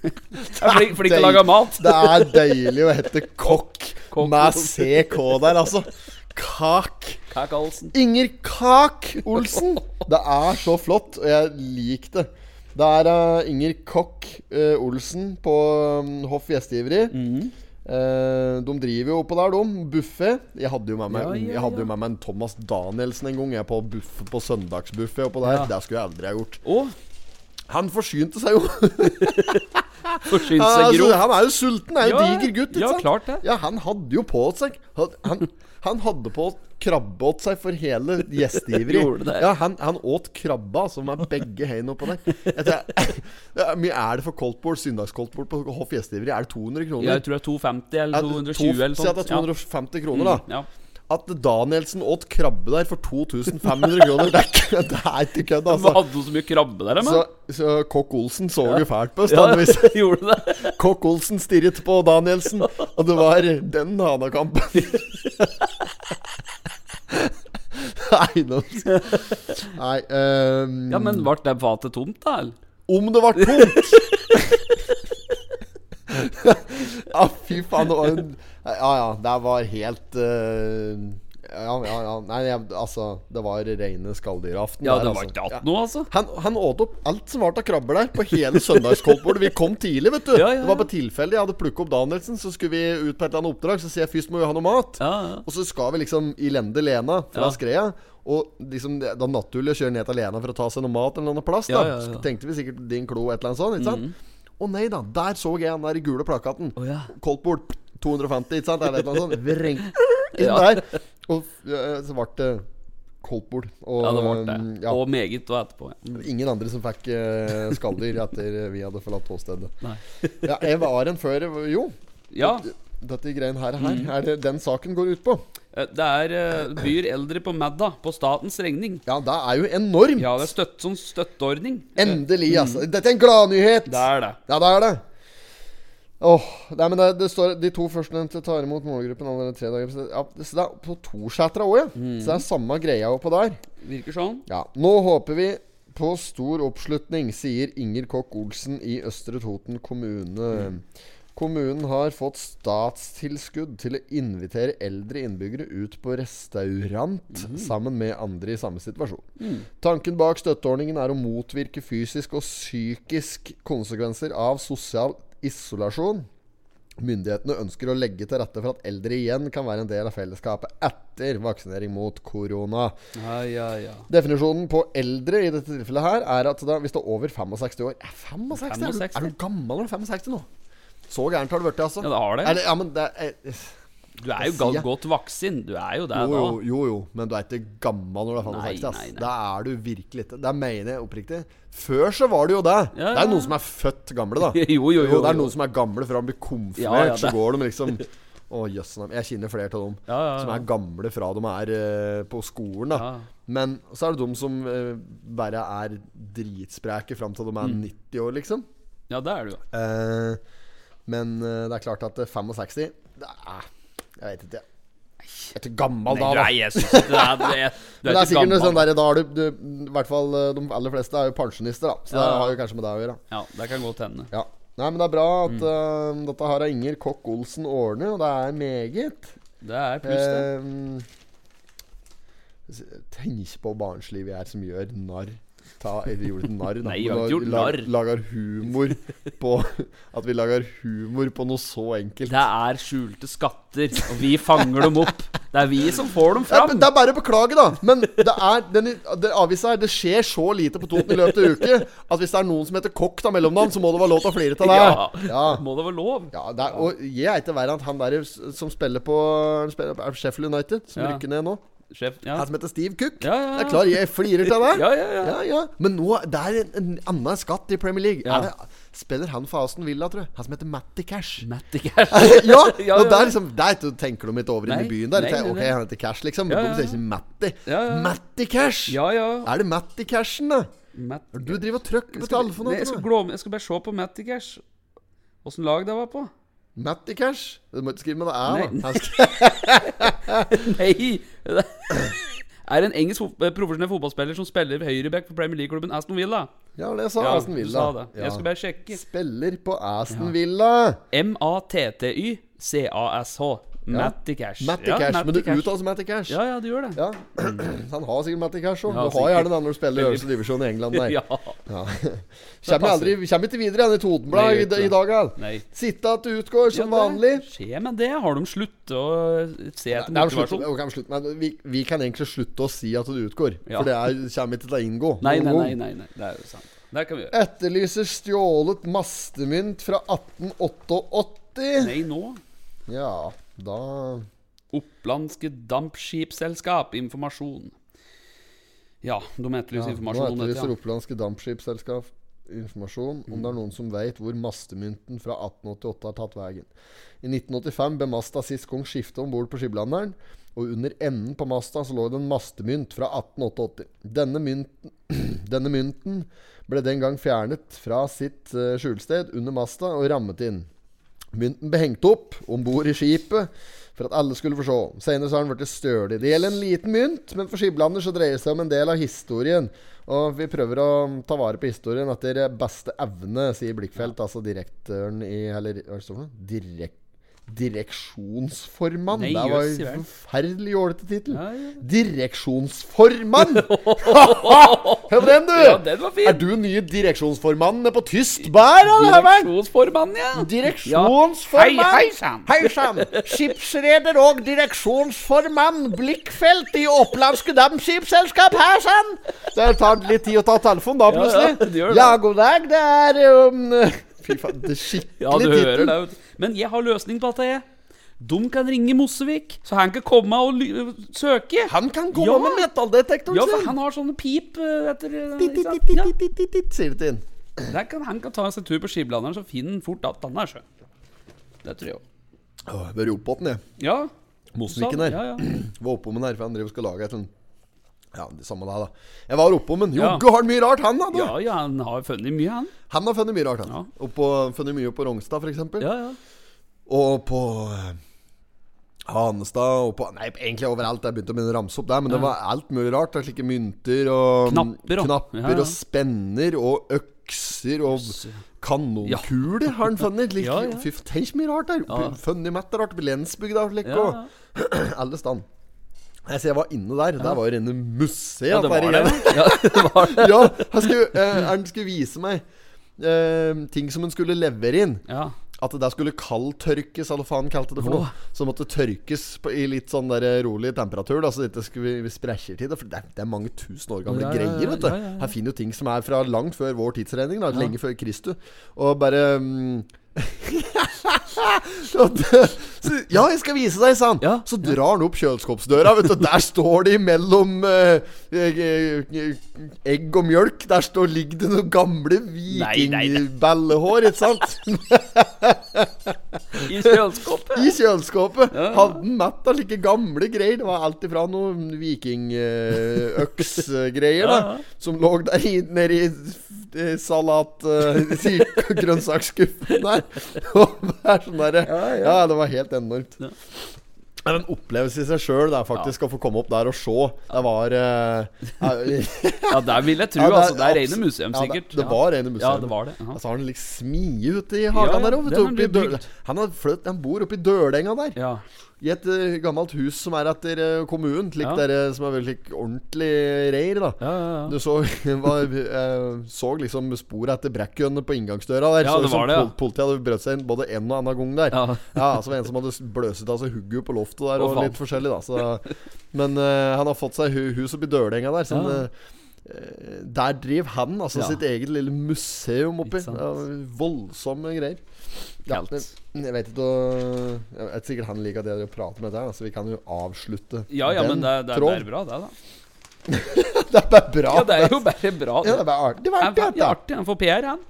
Jeg er flink, flink til å lage mat.
Det er deilig å hete kokk
Kokk.
med CK der, altså. Kak.
Kak Olsen.
Inger Kak Olsen. Det er så flott, og jeg liker det. Det er eh, Inger Kokk eh, Olsen på um, Hoff Gjestgiveri.
Mhm.
Eh, de driver jo oppå der, de. Buffé. Jeg hadde jo med meg,
Ja, ja,
Jeg hadde jo
ja.
med meg en Thomas Danielsen en gang. Jeg på, buff, på søndagsbuffé oppå der.
Ja.
Det skulle jeg aldri ha gjort.
Og
Han forsynte seg jo
forsynt
Ja,
seg
altså,
grovt.
han er jo sulten, er jo
Ja,
diger gutt.
ja, klart det.
Ja, han hadde jo på seg Han, han, han hadde på krabbe åt seg for hele gjestgiveri.
Gjorde det.
Ja, han, han åt krabba, som er begge hendene oppå der. Jeg tror, ja, mye er det for koldtbord? Søndagskoldtbord på Hoff gjestgiveri, er det 200 kroner?
Jeg tror det er 250 eller 220 eller
Si at det er
sånt. Mm,
250 kroner, da.
Ja.
At Danielsen åt krabbe der for 2500 kroner, det er ikke- det er ikke kødd,
Hva
altså.
Hadde du så mye krabbe der,
Så,
men?
så Kokk Olsen så jo fælt på oss, da.
Ja,
Hvis,
gjorde det?
Kokk Olsen stirret på Danielsen, og det var den hanakampen. Nei, nå Nei ehm,
Ja, men ble det fatet tomt, da? eller?
Om det var tomt! ja, fy faen. Det var en Ja, ja. Det var helt eh, Ja, ja. ja. Nei, jeg, altså Det var reine skalldyraften.
Ja,
der,
det var
altså.
ikke
Ja.
hatt noe, altså.
Han, han åt opp alt som var av krabber der, på hele søndagskoldbordet. Vi kom tidlig, vet du.
Ja, ja, ja.
Det var på tilfelle jeg hadde plukket opp Danielsen, så skulle vi ut på et eller annet oppdrag. Så sier jeg først må vi ha noe mat.
Ja, ja.
Og så skal vi liksom i lende Lena fra
Ja.
Skrea. Og liksom, det det er naturlig å kjøre ned til Lena for å ta seg noe mat en eller annen plass. Da.
Ja, ja, ja.
Så Tenkte vi sikkert Din Klo et eller annet sånt. Ikke sant? Å nei da, der så jeg han der i gule plakaten.
Å, ja.
Koldtbord 250, ikke sant? Eller et eller annet sånt. Vreng inn
Ja.
der. Og eh, så ble det koldtbord. Og,
Ja, det ble det.
eh, ja.
Og meget og etterpå. Ja.
Ingen andre som fikk uh, skalldyr etter vi hadde forlatt åstedet.
Nei.
Ja, jeg var en før Jo,
ja.
dette greien her, her
Mm.
er det den saken går ut på.
eh, Det er eh, byr eldre på Madda, på statens regning.
Ja, det er jo enormt!
Ja, det er støtt, sånn støtteordning.
Endelig, altså. Dette er en gladnyhet!
Det er det.
Ja, det er det. Åh, nei, men det, det står De to førstnevnte tar imot målgruppen allerede tre dager. Så det- Ja, så det er på Torsetra òg, ja.
Mm.
Så det er samme greia oppå der.
Virker sånn.
Ja, Nå håper vi på stor oppslutning, sier Inger Kokk Olsen i Østre Toten kommune. Kommunen har fått statstilskudd til å invitere eldre innbyggere ut på restaurant sammen med andre i samme situasjon. Tanken bak støtteordningen er å motvirke fysisk og psykisk konsekvenser av sosial isolasjon. Myndighetene ønsker å legge til rette for at eldre igjen kan være en del av fellesskapet etter vaksinering mot korona.
Ja, ja, ja.
Definisjonen på eldre i dette tilfellet her er at da, hvis du er over 65 år Er 65? Er,
65?
du, er du gammel når du er 65 nå? Så gærent har det blitt, altså.
Ja, det har det.
Er ja, men det er,
Du er jo
Hva sier
ga-
jeg?
godt voksen. Du er jo der
jo,
da.
jo, jo, jo, men du er ikke gammel når du er 65. ass.
nei, nei.
Da er du virkelig ikke Det mener jeg oppriktig. Før så var det jo det.
Ja,
Det
ja.
er noen som er født gamle, da.
Jo, jo, jo,
Det er
jo.
noen som er gamle fra de blir konfirmert,
Ja, ja,
så
det-
går de liksom Å, jøss. nei, jeg kjenner flere av dem
Ja, ja, ja.
som er gamle fra de er eh, på skolen. da
Ja.
Men så er det de som eh, bare er dritspreke fram til de er
Mm.
90 år, liksom.
Ja, det er du. jo.
Eh, men eh, det er klart at eh, 65 Det er Jeg vet ikke. Jeg er ikke gammel
Nei,
da.
du
da.
er Jesus. Du er, du er, du
Men det
er
er sikkert noe
ikke
sånn
gammel.
der, da er du, du, I hvert fall eh, de aller fleste er jo pensjonister, da. Så
Ja,
det
ja.
har jo kanskje med deg å gjøre.
Ja, det kan godt hende.
Ja. Nei, men det er bra at
Mm.
eh, dette her har Inger Kokk Olsen ordnet, og det er meget.
Det er pluss, det.
Eh, s- tenk på barnslivet jeg er som gjør narr. Ta, eller gjorde det narr, da.
Nei, jeg
men
har ikke
lag-
gjort
lag-
narr.
Lager humor på At vi lager humor på noe så enkelt.
Det er skjulte skatter, og vi fanger dem opp. Det er vi som får dem
Ja,
fram.
Eh, men det er bare å beklage, da. Men det er den, det avisa her Det skjer så lite på Toten i løpet av uke at hvis det er noen som heter Kokk av mellomnavn, så må det være lov til å flire av deg.
Ja.
Ja.
Må det være lov?
Ja, det er, og jeg er ikke verre enn at han der som spiller på, han spiller på Sheffield United, som
Ja.
rykker ned nå.
Sjef, ja.
Han som heter Steve Cook.
Ja, ja, ja.
Jeg er klar, jeg flirer til deg.
Ja, ja, ja.
Men nå det er en, en annen skatt i Premier League.
Ja.
Er det, spiller han for Aston Villa, tror jeg? Han som heter Matty Cash.
Matty Cash.
ja,
Ja,
og
ja,
der,
ja.
liksom, der t- tenker de ikke over inne
Nei,
i byen. der
nei,
tenker,
nei,
Ok,
nei.
han heter Cash, liksom.
Ja,
Men
ja,
de sier
ja.
ikke Matty.
Ja, ja.
Matty Cash!
Ja, ja.
Er det Matty Cashen, da?
Matt...
Du driver og trykker på telefonen.
Nei, jeg, skal
Anton.
glå... jeg skal bare se på Matty Cash. Åssen lag det var på?
Matty Cash? Du må ikke skrive med det æ,
Nei.
da. Han skal-
Nei! Det er en engelsk fot- eh, profesjonell fotballspiller som spiller høyreback for Premier League-klubben Aston Villa.
Ja, det sa
Ja,
Aston Villa.
Du sa det.
Ja.
Jeg skal bare sjekke.
Spiller på Aston Villa.
M-A-T-T-Y-C-A-S-H. Matty Cash.
Matty
Ja,
Cash. Men du
Cash.
uttaler som Matty Cash.
Ja, ja, du gjør det.
Ja. Han har sikkert Matty Cash òg.
Ja,
du har
sikkert.
gjerne den når du spiller i øverste divisjon i England. Nei.
Ja.
Ja. Kommer jeg aldri Kommer ikke videre igjen i
Nei,
Totenbladet
vet
i,
du.
i dag. Al.
Nei.
Sitte at du utgår som
Ja, det
vanlig.
Skje med det. Har de sluttet å se etter
Nei, slutt,
motivasjon?
ok, slutt, men vi, vi kan egentlig slutte å si at du utgår,
Ja.
for det er, kommer ikke til å inngå.
Nei,
noen
nei,
gang.
nei, nei, nei. Det er jo sant. Der kan vi gjøre.
Etterlyser stjålet mastemynt fra 1888.
Nei, nå.
Ja, da
Opplandske Dampskipsselskap. Informasjon. Ja, de etterlyser
Ja, Nå
informasjon om dette.
etterlyser
Ja.
Opplandske Dampskipsselskap informasjon om det er noen som veit hvor mastemynten fra 1888 har tatt veien. I 1985 bemasta sist kong skiftet om bord på Skiblanderen, og under enden på masta så lå det en mastemynt fra 1888. Denne mynten, denne mynten ble den gang fjernet fra sitt eh, skjulsted under masta og rammet inn. Mynten ble hengt opp om bord i skipet for at alle skulle få se. Senere så har den blitt stølig. Det gjelder en liten mynt, men for Skiblander så dreier det seg om en del av historien. Og vi prøver å ta vare på historien etter beste evne, sier Blikkfelt, altså direktøren i Eller hva står det? for noe? Direk, direksjonsformann.
Nei,
det var
jøss, i
en
verden.
forferdelig jålete tittel.
Ja, ja.
Direksjonsformann! Hør på den, du!
Ja, den var fin.
Er du nye direksjonsformannen på tyst bær, eller? Herman?
Direksjonsformann, ja.
Direksjonsformann!
Ja. Hei, hei sann!
Hei sann! Skipsreder og direksjonsformann Blikkfelt i Opplandske Damskipsselskap, her sann! Det tar litt tid å ta telefonen da,
Ja,
plutselig.
ja, det gjør det.
god dag, det er um, Fy faen, det er skikkelig
Ja, du hører
tittel.
det. vet du. Men jeg har løsning på dette, jeg. De kan ringe Mosevik, så han kan komme og ly søke.
Han kan komme
Ja.
med metalldetektoren
Ja, for
sin!
han har sånne pip eh, etter eh,
Titt,
ikke
titt,
sant?
titt,
Ja,
titt, titt, titt, titt, Sier det til han.
der kan, Han kan ta seg en tur på skiblanderen, så finner han fort at han er sjø. Det tror jeg òg.
Åh, jeg Bør rope på den, jeg.
Ja.
Mosviken
Sånn,
her.
Ja, ja.
Var oppom den her, for han drev og skulle lage et sånt Ja, det samme der, da. Jeg var oppom den.
Ja.
Jogge har han mye rart, han, da! du.
ja, ja, han har funnet mye, han.
Han har funnet mye rart. Han.
Ja.
Og på, funnet mye på Rognstad, f.eks. eksempel
Ja, ja.
Og på eh, Hanestad og på Nei, egentlig overalt. Jeg begynte med en ramse opp der, men det var alt mulig rart. Det er slike mynter og
Knapper og-
knapper
Ja, ja.
og spenner og økser og kanonkuler har han funnet. Like,
Ja, ja.
Fy faen, tenk så mye rart der.
Ja.
Funnet matt er rart. På Lensbygda og slik.
Ja, ja.
Og alle stand. Nei, så jeg var inne der. Der var jo rene museet.
Ja,
at
det
der
var
igjen.
det. Ja, det var det.
ja, han skulle, eh, han skulle vise meg eh, ting som han skulle levere inn.
Ja.
At det der skulle kaldtørkes, eller hva faen kalte det for noe. Som måtte tørkes på, i litt sånn der rolig temperatur, da, så det ikke skulle vi sprekker til det. For det er, det er mange tusen år gamle
Ja, ja, ja,
greier, vet du.
ja, ja, ja.
Her finner du ting som er fra langt før vår tidsregning, da, lenge før Kristus. Og bare mm, så det- så, ja, jeg skal vise deg, sa han.
Ja.
Så drar han opp kjøleskapsdøra. Vet du, der står det imellom eh, eh, eh, egg og mjølk. Der står, ligger det noen gamle
Nei, nei, nei.
vikingballehår, ikke sant?
I kjøleskapet.
I kjøleskapet.
Ja, ja.
Hadde han mett av slike gamle greier. Det var alt ifra noen vikingøksgreier, da.
Ja, ja.
Som lå der i- nede i eh, salat... eh, si- grønnsaksskuffen der. Og det er sånn derre ja,
Ja, ja.
det var helt enormt.
Ja.
Det er en opplevelse i seg sjøl, faktisk, å få komme opp der og se. Det var eh, ja,
Ja, der vil jeg tro.
Ja, det er
altså, det er rene
abs- ja,
museum,
det-
sikkert.
det var rene
Ja,
museum.
det var det. Aha.
Altså har han litt smie ute i
Ja,
hagen
ja,
der òg.
den har blitt bygd.
Han, har flytt- han bor oppe i Dølenga der.
Ja.
I et eh, gammelt hus som er etter eh, kommunen, slik
Ja.
der, eh, som er veldig slik ordentlig reir, da.
Ja, ja, ja.
Du så, var, eh, så liksom spor etter brekkjønnet på inngangsdøra der.
Ja,
så
det
ut som
var det, ja.
pol- Politiet hadde brøt seg inn både en og annen gang der.
Ja.
så var det en som hadde s- bløset av seg hugget på loftet der,
Å,
og
faen.
litt forskjellig, da. Så, men eh, han har fått seg hu hus oppi Dølenga der. Sånn, eh,
Ja.
eh, der driver han altså
Ja.
sitt eget lille museum oppi.
Ikke sant.
Ja, voldsomme greier. Ja,
Kaldt.
men jeg vet ikke å- Jeg vet sikkert han liker at jeg driver og prater med deg, da, så vi kan jo avslutte
Ja, ja, men det, det, er- det
tråden.
er bra, det, da.
Det er bare bra.
Ja, det er jo bare bra.
Ja, det er bare artig. Det var
Han
artig,
er
dette.
artig. Han får PR, han.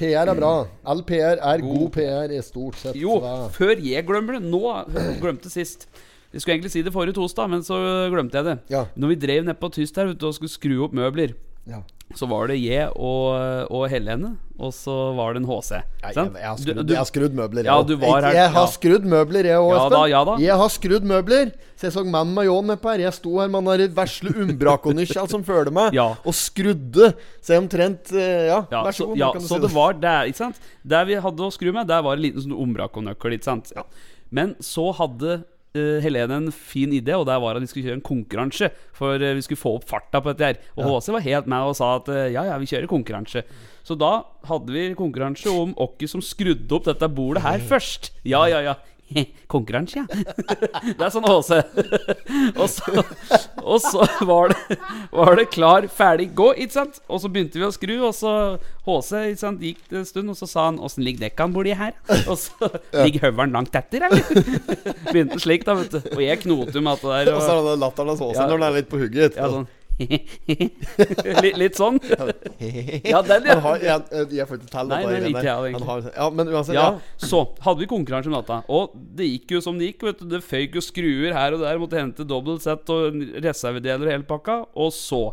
PR er bra. All PR er god,
God
PR i stort sett.
Jo,
så det-
før jeg glemmer det. Nå jeg glemte sist. Jeg skulle egentlig si det forrige torsdag, men så glemte jeg det.
Ja.
Når vi drev nede på tyst her vet du, og skulle skru opp møbler,
ja.
så var det jeg og, og Helene, og så var det en HC.
Jeg, jeg,
sant?
jeg, har
Du-
skrudd,
du-
jeg har skrudd møbler.
Ja,
jeg også.
du var her,
jeg, jeg har
ja.
skrudd møbler, jeg òg,
Ja da, ja da.
Jeg har skrudd møbler. Så jeg så mannen med ljåen nedpå her. Jeg sto her med han der vesle umbrakonysja som følger meg,
Ja.
og skrudde. Så jeg omtrent eh, Ja,
ja,
vær så god.
Så, ja,
nå kan du
så
si
det var der, ikke sant? Der vi hadde å skru med, der var en liten sånn ombrakonøkkel, ikke sant? Men så hadde eh, Helene en fin idé, og der var at vi skulle kjøre en konkurranse. For eh, vi skulle få opp farta på dette her. Og HC var helt med og sa at eh, ja, ja, vi kjører konkurranse. Så
Mm.
da hadde vi konkurranse om hvem som skrudde opp dette bordet her først. Ja, ja, ja. Konkurranse, ja. Det er sånn Åse. Og så, og så var, det, var det klar, ferdig, gå, ikke sant? Og så begynte vi å skru, og så Åse ikke sant, gikk det en stund, og så sa han 'Åssen ligger dekkene borti her?' Og så ligger høvelen langt etter, eller? Begynte slik, da, vet du. Og jeg knoter jo med alt det der.
Og så er det den latteren hans også
Ja.
når den er litt på hugget.
Ja, sånn litt, litt sånn. Ja,
Han
den, ja.
har Jeg, jeg får ikke telle
Nei,
dette
den
greiene
liker jeg egentlig.
Han har, ja, men uansett,
ja.
ja.
Så hadde vi konkurranse om natta, og det gikk jo som det gikk. Vet du, det føyk jo skruer her og der, måtte hente dobbelt sett og reservedeler og hele pakka. Og så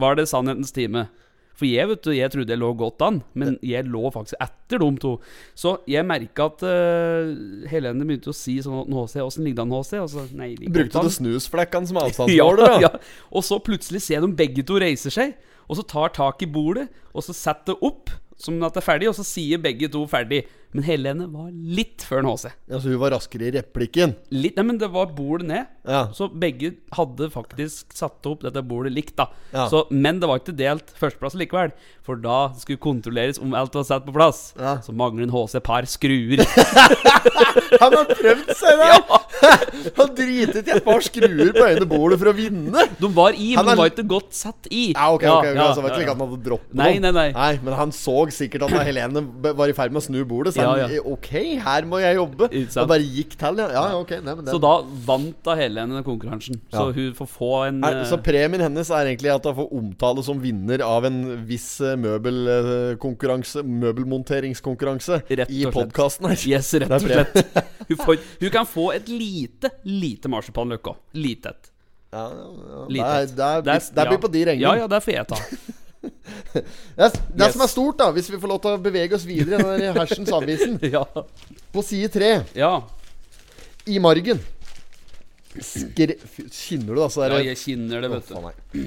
var det sannhetens time. For jeg vet du, jeg trodde jeg lå godt an, men jeg lå faktisk etter de to. Så jeg merka at eh, Helene begynte å si sånn HC, åssen ligger det an, HC? Og så, nei, jeg ligger godt
Brukte
an.
du snusflekkene som avstandsmåler, da?
Ja, ja. Og så plutselig ser de begge to reiser seg, og så tar tak i bordet, og så setter det opp som at det er ferdig, og så sier begge to ferdig. Men Helene var litt før en HC.
Ja, så hun var raskere i replikken.
Litt, nei, men det var bordet ned,
Ja.
så begge hadde faktisk satt opp dette bordet likt, da.
Ja.
Så, men det var ikke delt førsteplass likevel, for da skulle kontrolleres om alt var satt på plass.
Ja.
Så mangler en HC par skruer.
Han har prøvd seg der! Han dritet i et par skruer på øynene bordet for å vinne!
De var i,
Han
men de
er-
var ikke godt satt i.
Ja, ok, ok, ok, altså, det var
ja,
ikke slik
ja.
at han hadde droppet
Nei, nei, nei.
nei Men han så sikkert at Helene b- var i ferd med å snu bordet. Så
Ja,
han eh, Ok, her må jeg jobbe.
Ikke sant.
Og bare gikk til, ja. ja ja, ok, nei, men den,
Så da vant da Helene den konkurransen. Så
Ja.
hun får få en
er,
eh,
Så premien hennes er egentlig at hun får omtale som vinner av en viss eh, møbelkonkurranse, møbelmonteringskonkurranse,
Rett
i
og slett.
podkasten her.
Yes,
Det
rett og
er premie.
slett. Hun, får, hun kan få et lite, lite marsipanløk òg. Lite et.
Ja, ja, ja.
Lite et.
Det er- det er- det blir på de regner.
Ja, ja, det er får jeg ta.
Det, er- det
Yes.
som er stort, da, hvis vi får lov til å bevege oss videre i den der hersens avisen,
Ja.
på side tre
ja.
I margen. Skre... Fy, Kjenner du det? Altså,
ja
der-
jeg kjenner det,
Å,
vet du.
faen, nei.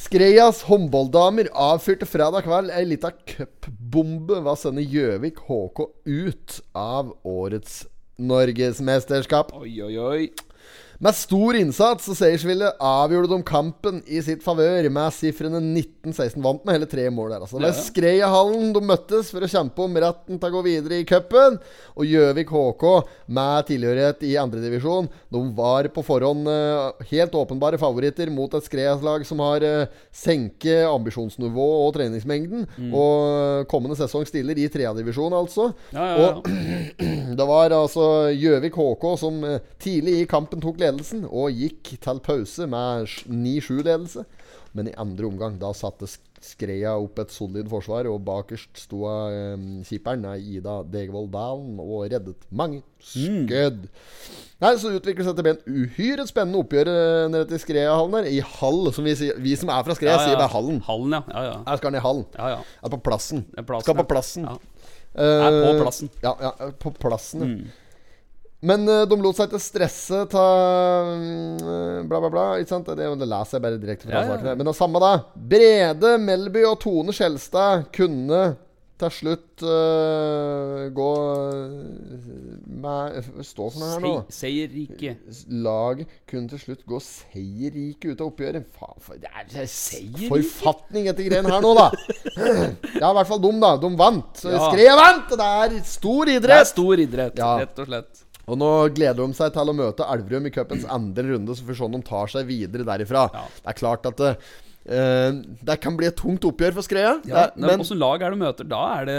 Skreias håndballdamer avfyrte fredag kveld ei lita cupbombe ved å sende Gjøvik HK ut av årets Norgesmesterskap.
Oi, oi, oi.
Med stor innsats og seiersvilje avgjorde de kampen i sitt favør med sifrene 19-16. Vant med hele tre mål der, altså. Det var
Ja.
Skreiahallen de møttes for å kjempe om retten til å gå videre i cupen. Og Gjøvik HK, med tilhørighet i andredivisjon, de var på forhånd eh, helt åpenbare favoritter mot et Skreias-lag som har eh, senket ambisjonsnivå og treningsmengden.
Mm.
Og eh, kommende sesong stiller i tredjedivisjon, altså.
Ja, ja,
Og
ja.
det var altså Gjøvik HK som eh, tidlig i kampen tok ledelsen og gikk til pause med sj- 9-7-ledelse. Men i andre omgang da satte Sk- Skreia opp et solid forsvar, og bakerst sto eh, keeperen eh, Ida Degevold Dalen og reddet mange skudd. Nei, Så utviklet seg til å bli en uhyre spennende oppgjør eh, nede til Skreia-hallen der. I hall, som vi, sier, vi som er fra Skreia,
Ja, ja.
sier bare hallen.
Hallen, ja. Ja, ja.
Her skal han i hallen.
ja, ja.
Er på plassen.
Det er plassen,
skal på
ja.
plassen.
Ja.
Eh,
Er på plassen. Mm.
Ja, ja er på plassen. ja. Men eh, de lot seg ikke stresse ta mm, bla, bla, bla. Ikke sant? Det, det leser jeg bare direkte fra
Ja, ja.
saken. her. Men det samme, da. Brede Melby og Tone Skjelstad kunne til slutt eh, gå eh, med, Stå for noe her nå.
Se- Seierrike.
Laget kunne til slutt gå seierrike ut av oppgjøret. Faen, for det er
Det er Seierrike?
forfatning etter greien her nå, da. Det er i hvert fall dem, da. De vant. Så
Ja.
Skreia vant! og Det er stor
Det er
idrett!
stor idrett,
Ja.
rett og slett.
Og nå gleder de seg til å møte Elverum i cupens andre runde, så får vi se om de tar seg videre derifra.
Ja.
Det er klart at det, eh, det kan bli et tungt oppgjør for Skreia.
Ja,
det, er-
men
men
åssen lag er det du møter? Da er det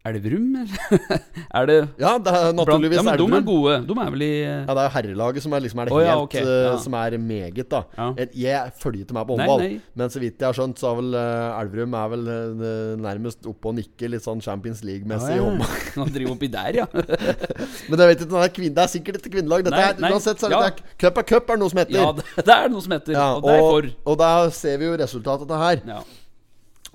Elverum, eller? er det
ja, det er naturligvis
ja, men De er
Elverum.
gode. De er vel i
Ja, det er herrelaget som er, liksom, er det
Å,
helt
ja, ok,
eh,
ja.
Som er meget, da.
Ja.
Jeg, jeg følger ikke med på
Nei,
håndball,
nei.
men så vidt jeg har skjønt, så er vel eh, Elverum er vel eh, nærmest oppe og nikker litt sånn Champions League-messig i håndball.
Nå driver oppi der, ja.
Men jeg vet ikke, den er kvinn, det er sikkert ikke kvinnelag. Dette
Nei,
er,
nei,
uansett, så er
ja.
det, det er, cup er cup, er noe som heter.
ja det, det er noe som heter
Ja,
Og det er for.
og, og da ser vi jo resultatet av det her.
Ja.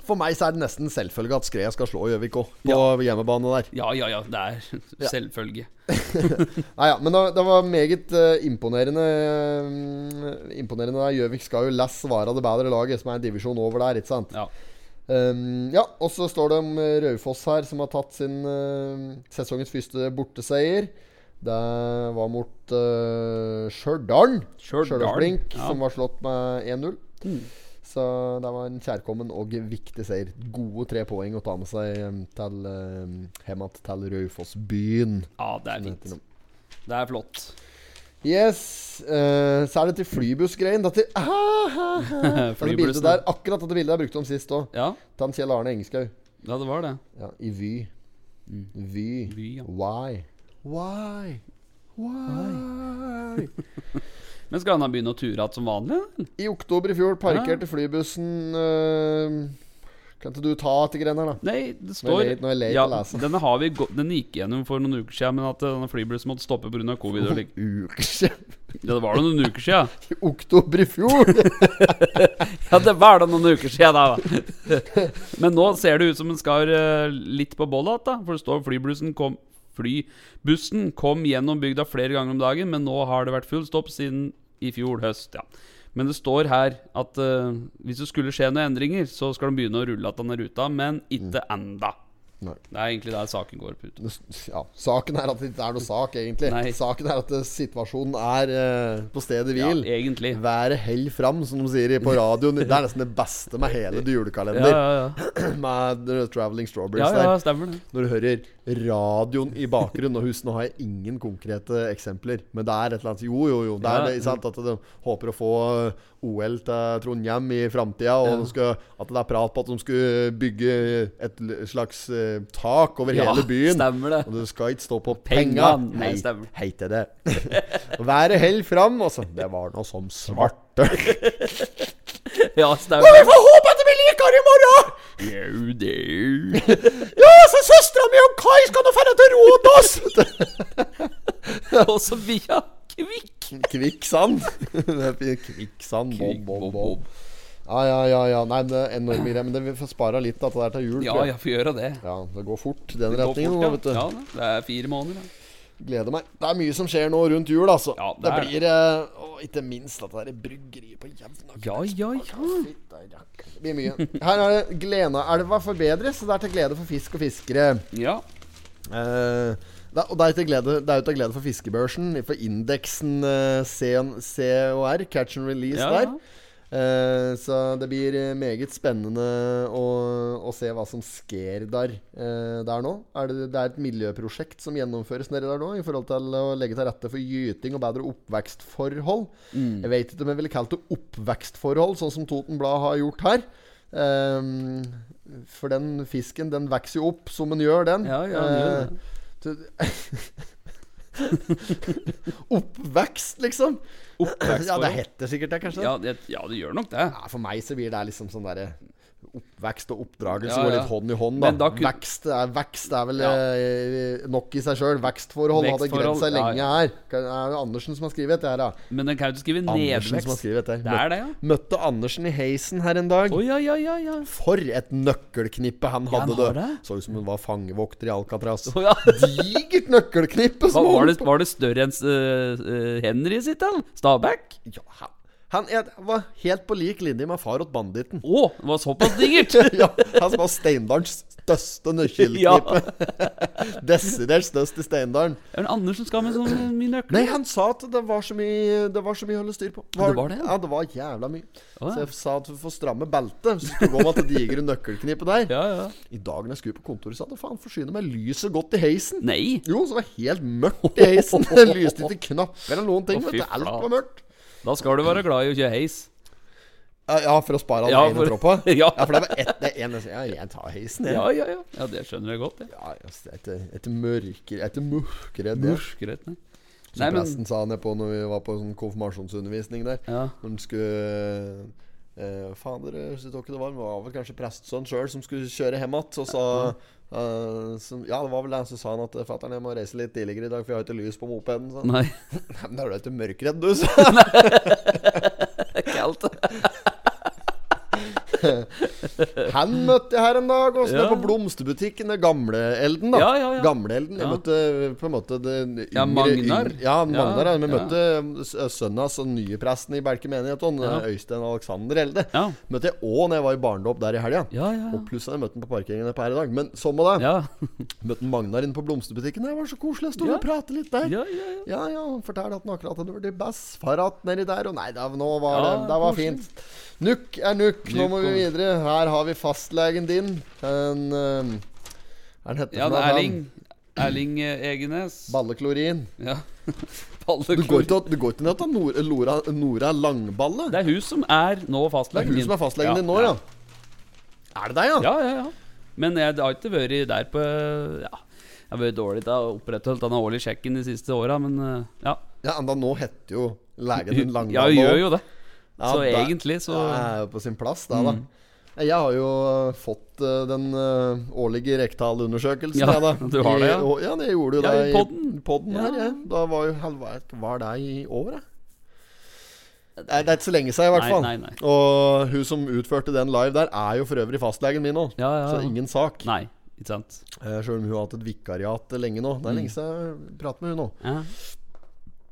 For meg så er det nesten selvfølge at Skreia skal slå Gjøvik òg, på hjemmebane der.
ja, ja, ja. Det er selvfølge.
Nei, ja, men det, det var meget eh, imponerende. eh, imponerende der. Gjøvik skal jo less være det bedre laget, som er en divisjon over der, ikke sant.
Ja.
Um, ja, og så står det om eh, Raufoss her, som har tatt sin eh, sesongens første borteseier. Det var mot uh, Stjørdal.
Stjørdal,
Stjørdalsblink,
ja.
som var slått med 1-0. Så det var en kjærkommen og viktig seier. Gode tre poeng å ta med seg eh, til, eh, hjem igjen til Raufoss-byen.
Ja, det er fint. Det er flott.
Yes. eh, så er det til flybussgreien. Dette, ah, ah, ah. dette bildet
Flybussen.
der, akkurat dette bildet jeg brukte om sist òg.
Ja,
Til Kjell Arne Engeskau.
ja det var det.
Ja, I Vy. Vy.
Vy, ja.
Why? Mm. Why? Why?
Men skal han da begynne å ture igjen som vanlig? eller?
I oktober i fjor parkerte flybussen eh, Kan ikke du ta til greiene her, da?
Nei,
Nå
det
er
står
jeg late- nå er jeg late å lese.
Denne har vi gå- Den gikk gjennom for noen uker siden, men at eh, denne flybussen måtte stoppe pga. covid. Og lik.
Uke
Ja, det var da noen uker siden.
I oktober i fjor!
Ja, det var da noen uker siden, da. Men nå ser det ut som en skar eh, litt på bolla igjen, da. For det står flybussen kom, flybussen kom gjennom bygda flere ganger om dagen, men nå har det vært full stopp siden i fjor høst. ja. Men det står her at eh, hvis det skulle skje noen endringer, så skal de begynne å rulle igjen denne ruta, men ikke enda.
Mm. Nei.
Det er egentlig der saken går på.
Det s- Ja, saken er at det ikke er noe sak, egentlig.
Nei.
Saken er at eh, situasjonen er eh, på stedet
Ja,
hvil.
egentlig.
Været held fram, som de sier i- på radioen. Det er nesten det beste med hele
Ja,
julekalender.
ja, ja.
Med eh, Traveling Strawberries
ja, ja
der.
stemmer det.
Når du hører radioen i bakgrunnen Og husk, nå har jeg ingen konkrete eksempler, men det er et eller annet Jo, jo, jo. Det er
Ja.
det, ikke sant? At de håper å få eh, OL til Trondheim i framtida, og de skal, at det er prat på at de skulle bygge et l- slags eh, tak over
Ja,
hele byen.
stemmer det.
Og det skal ikke stå på penga.
Penga. Nei,
Hei-
stemmer.
Hei til det. Været held fram, altså. Det var nå som svarte.
Ja, stemmer det.
får håpe at det blir likere i morgen!
Jau, det.
Ja, så søstera mi og Kai skal nå dra til Rådås!
Og så via Kvikk.
Kvikksand. Det er fint. Kvikksand. Bob, bob, bob. Ja, ja, ja. ja. Nei, men det er enorme greier. Men det, vi får spare litt av det der til jul.
Ja,
tror jeg.
jeg får gjøre det.
ja. Det går fort i den
Det går
retningen nå,
fort,
vet du.
ja. Ja, da. det er fire måneder. Da.
Gleder meg. Det er mye som skjer nå rundt jul, altså.
Ja,
det,
det er
blir eh, Å, ikke minst at det er bryggeriet på Jevnaker.
Ja, ja, ja.
Fytta rakker. Det blir mye. Her er det Glenaelva forbedres, og det er til glede for fisk og fiskere.
Ja,
Eh, det, er- og det er til glede, det er jo til glede for fiskebørsen, for indeksen eh, CN COR, catch and release
Ja,
der.
ja.
Eh, så det blir eh, meget spennende å, å se hva som skjer der, eh, der nå. Er det, det er et miljøprosjekt som gjennomføres nede der nå, i forhold til å legge til rette for gyting og bedre oppvekstforhold. Jeg vet ikke om jeg ville kalt det oppvekstforhold, sånn som Toten Blad har gjort her. Ehm, for den fisken, den vokser jo opp som den gjør, den.
Ja, ja, den gjør
Eh, du- Oppvekst, liksom. Ja, det heter sikkert det, kanskje.
ja, det, ja, det gjør nok det.
Ja, for meg så blir det liksom sånn derre Oppvekst og oppdragelse
Ja,
går
ja.
litt hånd i hånd, da.
Men da kun-
Vekst, er, vekst er vel
Ja.
eh, nok i seg sjøl. Vekstforhold hadde
Vekstforhold,
grensa seg
ja,
lenge her. Det er jo Andersen som har skrevet dette her, da.
Men den kan jo ikke skrive
Andersen som har
nedvekst.
skrevet dette.
Det er det, ja.
Møtte Andersen i heisen her en dag.
Å ja, ja, ja. ja.
For et nøkkelknippe han
Ja, han
hadde,
har
du.
det.
Så ut som hun var fangevokter i Alcatraz.
Å, ja.
Digert nøkkelknippe!
Hva,
som
var,
han-
det, var det større enn eh, eh, Henry sitt, da? Stabæk?
Ja, han- han er- var helt på lik linje med Farot Banditten.
Å, det var såpass digert!
ja, han som var Steindalens største
Ja.
nøkkelknippe. Desidert størst i Steindalen.
Er det Andersen skal med sånn mye nøkler?
Nei, han sa at det var så mye Det var så mye å holde styr på.
Det var det, ja.
Ja, det var jævla mye.
Å, ja.
Så jeg sa at du får stramme beltet. Så skulle du gå med det digre nøkkelknippet der.
Ja, ja.
I dag når jeg skulle på kontoret, sa jeg faen, forsyne meg lyset godt i heisen.
Nei.
Jo, så var det helt mørkt i heisen. Det lyste ikke knapper eller noen ting.
Å,
vet
fy
du, Alt
flate.
var mørkt.
Da skal du være glad i å kjøre heis.
Ja, Ja, for å spare
Ja,
all ene
for-
tråpa?
Ja.
for det var ett det er en- Ja, jeg tar heisen, jeg.
Ja, ja, ja. Ja, Det skjønner jeg godt. Ja.
Ja, altså, et, et mørkere Et mørkere det
Greit, nei.
Som
Nei, men
presten sa ned på når vi var på sånn konfirmasjonsundervisning der.
Ja.
Når han skulle eh, Fader, jeg synes ikke det var Det var vel kanskje prestesønnen sjøl som skulle kjøre hjem igjen. Og sa eh, som, Ja, det var vel det. Så sa han at eh, fatter'n, jeg må reise litt tidligere i dag, for jeg har ikke lys på mopeden. Så.
Nei,
Nei, men da er du ikke mørkredd, du, sa han.
det er kaldt.
Han møtte jeg her en dag. Også,
Ja.
På blomsterbutikken. Det gamle Elden, da.
Ja, ja, ja.
Gamle Elden. Jeg
Ja.
møtte eh, på en måte den yngre
Ja, Magnar.
yng- Ja, Magnar.
Ja,
Ja, vi
ja.
møtte eh, s- sønnen hans og nye presten i Belke menighet, og han,
Ja.
Øystein Alexander Elde.
Ja.
Møtte jeg òg når jeg var i barndåp der i helga.
Ja, ja, ja.
Og pluss at jeg møtte han på parkeringen på her i dag. Men sånn med det.
Ja,
Møtte Magnar inne på blomsterbutikken. Det var så koselig. Jeg sto
Ja.
og pratet litt der.
ja, ja, ja.
Ja, ja, han fortalte at han akkurat hadde vært i Bassfarat nedi der, og nei, da, nå var
Ja,
det Det var
koselig.
fint. Nukk er nukk, nå
Nukk
må vi
og-
videre. Her har vi fastlegen din. En eh, Hva er den heter
ja
for noe?
det er
Han-
Erling. Erling eh, Egenes.
Balleklorin.
Ja.
Du går
Balleklo-
ikke til- du går ikke ned til Nora, Nora, Nora Langballe?
Det er hun som er nå
Det er
fastlegen
hun som er fastlegen din nå, ja. Er det deg, ja?
Ja, ja, ja. Men jeg har ikke vært der på Ja, jeg har vært dårlig til å opprettholde denne årlige sjekken de siste åra, men eh, ja.
ja enda nå heter jo legen din Langballe.
Ja, hun gjør jo det.
Ja,
Så
da-
egentlig så Mm.
Det er jo på sin plass, da. da. Jeg har jo øh, fått øh, den øh, årlige rektalundersøkelsen.
Ja,
jeg, da.
du har det, ja.
I, og, ja, det gjorde du
Ja,
det
i podden.
podden
Ja.
her. Ja. Da var jo helvete Var det i år, da? Det er, det er ikke så lenge siden, i hvert
Nei,
fall.
nei, nei.
Og hun som utførte den live der, er jo for øvrig fastlegen min nå.
Ja, ja,
Så
ja.
ingen sak.
Nei, ikke sant.
Sjøl Eh, om hun har hatt et vikariat lenge nå.
Mm.
Det er lenge siden jeg prater med hun nå.
Ja.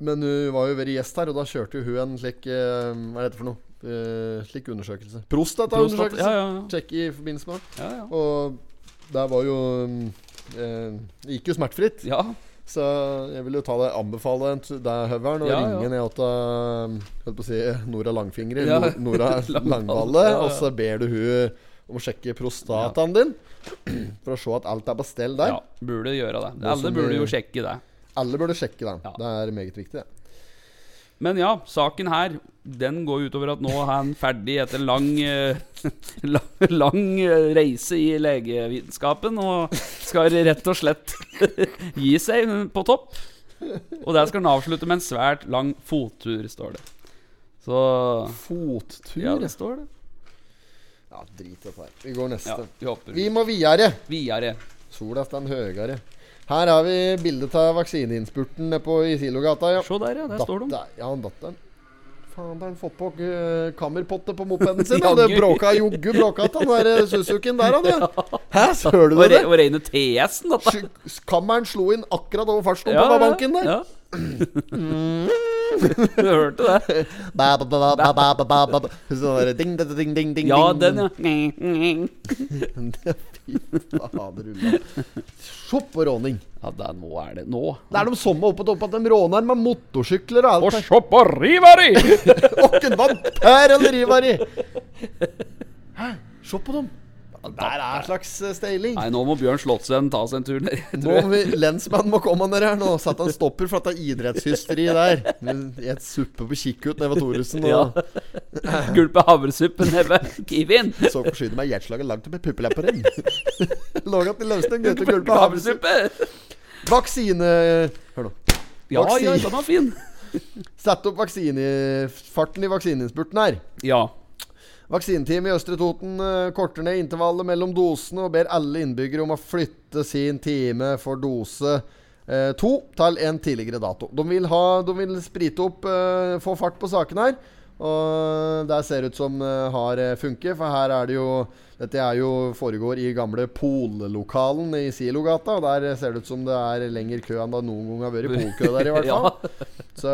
Men hun var jo veldig gjest her, og da kjørte jo hun en slik eh, Hva er dette for noe? Eh, slik undersøkelse. Prostataundersøkelse.
Prostat- ja, ja, ja.
Sjekk i forbindelse med det.
Ja, ja.
Og der var jo mm, eh, Det gikk jo smertefritt.
ja.
Så jeg vil jo ta deg anbefale en t- deg, Høveren, å
Ja, ja.
ringe ned til eh, Holdt på å si Nora Langfingre.
Ja.
Nor- Nora
Langballe,
Langballe.
ja, ja.
Og så ber du hun om å sjekke prostataen din. For å se at alt er på stell der.
ja. Burde gjøre det.
Nå som
Alle burde
vi-
jo sjekke det.
Alle burde sjekke den.
Ja.
Det er meget viktig. det.
Men ja, saken her Den går utover at nå er han ferdig etter lang eh, lang, lang eh, reise i legevitenskapen og skal rett og slett gi seg på topp. Og der skal han avslutte med en svært lang fottur, står det. Så
Fottur.
Ja, det står det.
Ja, drit i dette her. Vi går neste.
Ja, vi hopper
Vi må videre.
videre.
Sola stand høyere. Her har vi bildet av vaksineinnspurten nede på i Silogata. Ja.
Se der, ja. Der står de.
Datter- Ja, han datteren. Faen, da har han fått på eh, kammerpotte på mopeden sin. ja.
Jaggu.
det bråka joggu bråka til han der eh, Suzuki'en der, han. Ja. Hæ, så hører du
Og,
det?
re, og rene TS-en, dette.
Sj- Kammeren slo inn akkurat over fartsdumpa på banken der.
ja. du hørte det?
Ba, ba, ba, ba, ba, ba, ba, ba. Sånn der ding, ding, ding, ding, ding.
Ja,
ding.
den, ja.
Fy fader, Ulla. Se på råning.
Ja, der, nå er det Nå.
Det er de samme oppe på toppen at de råner med motorsykler og alt.
se på Rivari!
Åkken vampyr eller rivar i. Hæ? Se på dem. Der er slags eh, steiling.
Nei, nå må Bjørn Slottsven ta seg en tur ned. jeg
Nå
tror
må vi, Lensmannen må komme ned her nå. Satt han stopper for at det er idrettshysteri der. I et suppe på kikkut nede ved Thoresen. Og
jeg. Gulpe havresuppe ned ved Kiwien.
så forsyner meg hjertslaget langt opp i puppelepperen. Laga til løsning, dette
Gulpe
gulpet havresuppe.
havresuppe!
Vaksine... Hør nå.
Ja, ja,
Vaksin.
den var fin.
Sett opp vaksinefarten i vaksineinnspurten her.
Ja.
Vaksineteamet i Østre Toten eh, korter ned intervallet mellom dosene og ber alle innbyggere om å flytte sin time for dose eh, to til en tidligere dato. De vil, ha, de vil sprite opp, eh, få fart på sakene her. Og det ser ut som eh, har eh, funket, for her er det jo Dette er jo foregår i gamle Pollokalen i Silogata, og der ser det ut som det er lengre kø enn det noen gang har vært polkø der, i hvert
Ja.
fall. Så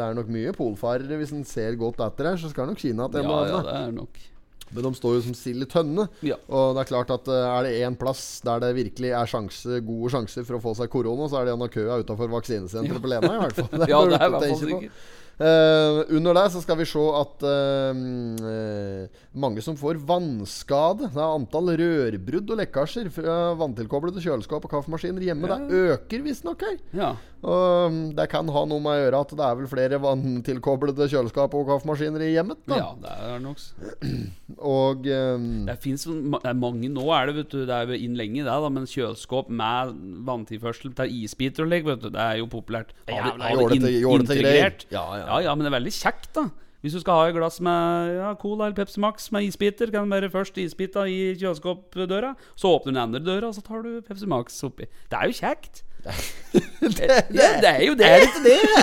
det er nok mye polfarere. Hvis en ser godt etter her, så skal nok Kina til
ja,
en eller
ja,
annen.
det er nok.
Men de står jo som sild i tønne.
Ja.
Og det er klart at eh, er det én plass der det virkelig er sjanse, gode sjanser for å få seg korona, så er det gjennom køa utafor vaksinesenteret på Lena, i hvert fall.
Ja,
bør du
det er i
ikke
hvert fall
tenke på.
sikkert.
Eh, under der så skal vi se at eh, mm, eh, mange som får vannskade Det er antall rørbrudd og lekkasjer fra vanntilkoblede kjøleskap og kaffemaskiner hjemme. Det øker visstnok her.
Ja.
Og um, det kan ha noe med å gjøre at det er vel flere vanntilkoblede kjøleskap og kaffemaskiner i hjemmet. Da.
ja, det er nok. s-
Og um,
Det finnes jo ma- det er mange nå, er det, vet du. Det er jo inn lenge, det, da, men kjøleskåp med vanntilførsel til isbiter og lik, vet du. Det er jo populært. Ha det,
Jævla
ha det
jålete-
in
jålete greier.
integrert.
Ja, ja.
ja, ja, men det er veldig kjekt, da. Hvis du skal ha et glass med ja, Cola eller Pepsi Max med isbiter, kan du bare først isbita i kjøleskapdøra, så åpner du den andre døra, og så tar du Pepsi Max oppi. Det er jo kjekt. Ja, det er jo det!
Er det ikke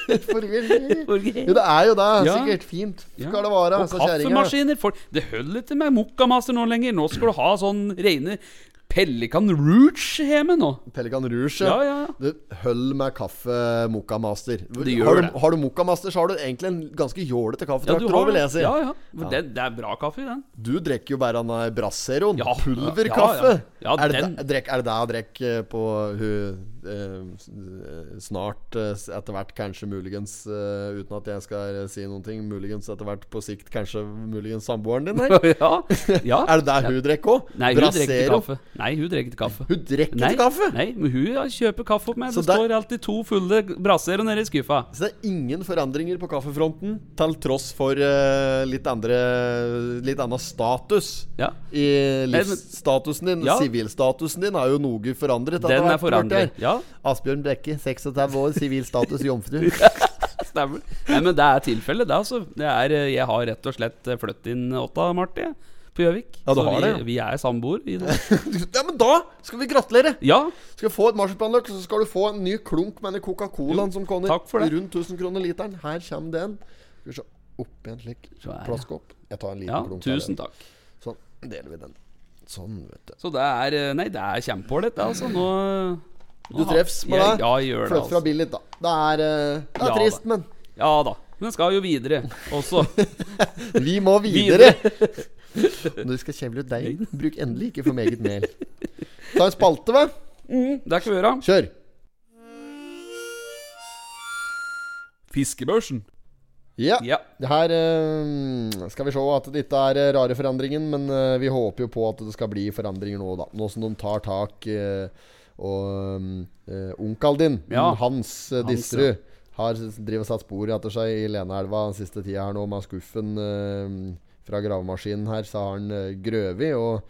det? Forvirrende. Jo, det er jo det.
Ja.
Sikkert fint.
Ja.
Skal det være,
og
sa kjerringa.
kaffemaskiner. Folk, det holder ikke med Mokkamaster nå lenger. Nå skal du ha sånn rene Pelikan Rouge hjemme nå.
Pelikan Rouge.
Ja, ja, ja.
Du, hold med kaffe Moka Master.
gjør
har,
det.
du, har du Moka Master, så har du egentlig en ganske jålete
Ja,
kaffetraktor
du
ja,
har
òg, vil
det.
jeg si.
Ja, ja. For Det, det er bra kaffe, den.
Du drikker jo bare den der Brasseroen.
Ja,
Pulverkaffe.
ja, ja. Ja,
er, det
den-
det- drek- er det det jeg drikker på hun eh, s- eh, Snart, eh, s- etter hvert kanskje muligens eh, Uten at jeg skal eh, si noen ting, muligens etter hvert på sikt kanskje muligens samboeren din her?
ja. ja.
Er det der hun drikker òg?
Nei, hun drikker ikke kaffe. Nei, hun drikker ikke kaffe.
Hun drikker
Nei,
ikke kaffe?
nei, men hun ja, kjøper kaffe opp meg.
Så
Det
der-
står alltid to fulle brasserer nede i skuffa.
Så det er ingen forandringer på kaffefronten, til tross for eh, litt andre Litt annen status.
Ja.
I
men-
livsstatusen din.
Ja.
Sivilstatusen din er jo noe forandret.
Den
etter
er
hvert, hørte jeg.
forandret. Ja,
Asbjørn Brekke, 36 år, sivil status, jomfru.
stemmer. Nei, men det er tilfellet, det, altså. Det er, eh, jeg har rett og slett eh, flyttet inn åtta, Marti, på Gjøvik.
Ja, du
Så
har
vi,
det, ja.
vi er samboer. I det.
ja, men da skal vi gratulere!
Ja,
Skal vi få et marsipanløk, så skal du få en ny klunk med den Coca-Colaen som kommer.
takk for det.
Rundt 1000 kroner literen. Her kommer den. Skal vi se. Opp i en slik
Så er det.
plastkopp. Jeg tar en liten
ja
klunk. av
tusen
den.
takk.
Sånn. Deler vi den. Sånn, vet du.
Så det er eh, Nei, det er kjempeålreit, det, altså. Nå, nå
Du
har-
treffs med
jeg-
det.
Ja, jeg gjør det.
Flytt fra
Altså.
bil litt, da. Det er, eh, det er
Ja,
trist,
da.
men
Ja da. Men skal jo videre også.
vi må videre. Når du skal kjevle ut deg, bruk endelig ikke for meget mel. Ta en spalte, hva?
Det kan vi gjøre.
Kjør.
Fiskebørsen.
Ja.
Ja.
Det Her eh, skal vi se at det ikke er eh, rare forandringen, men eh, vi håper jo på at det skal bli forandringer nå, da. Nå som de tar tak eh, og uh, onkelen din,
Ja.
Hans uh,
Hans,
Disterud, har driver og satt spor etter seg i Lenaelva den siste tida her nå med skuffen eh, fra gravemaskinen her, så har han uh, grøvet og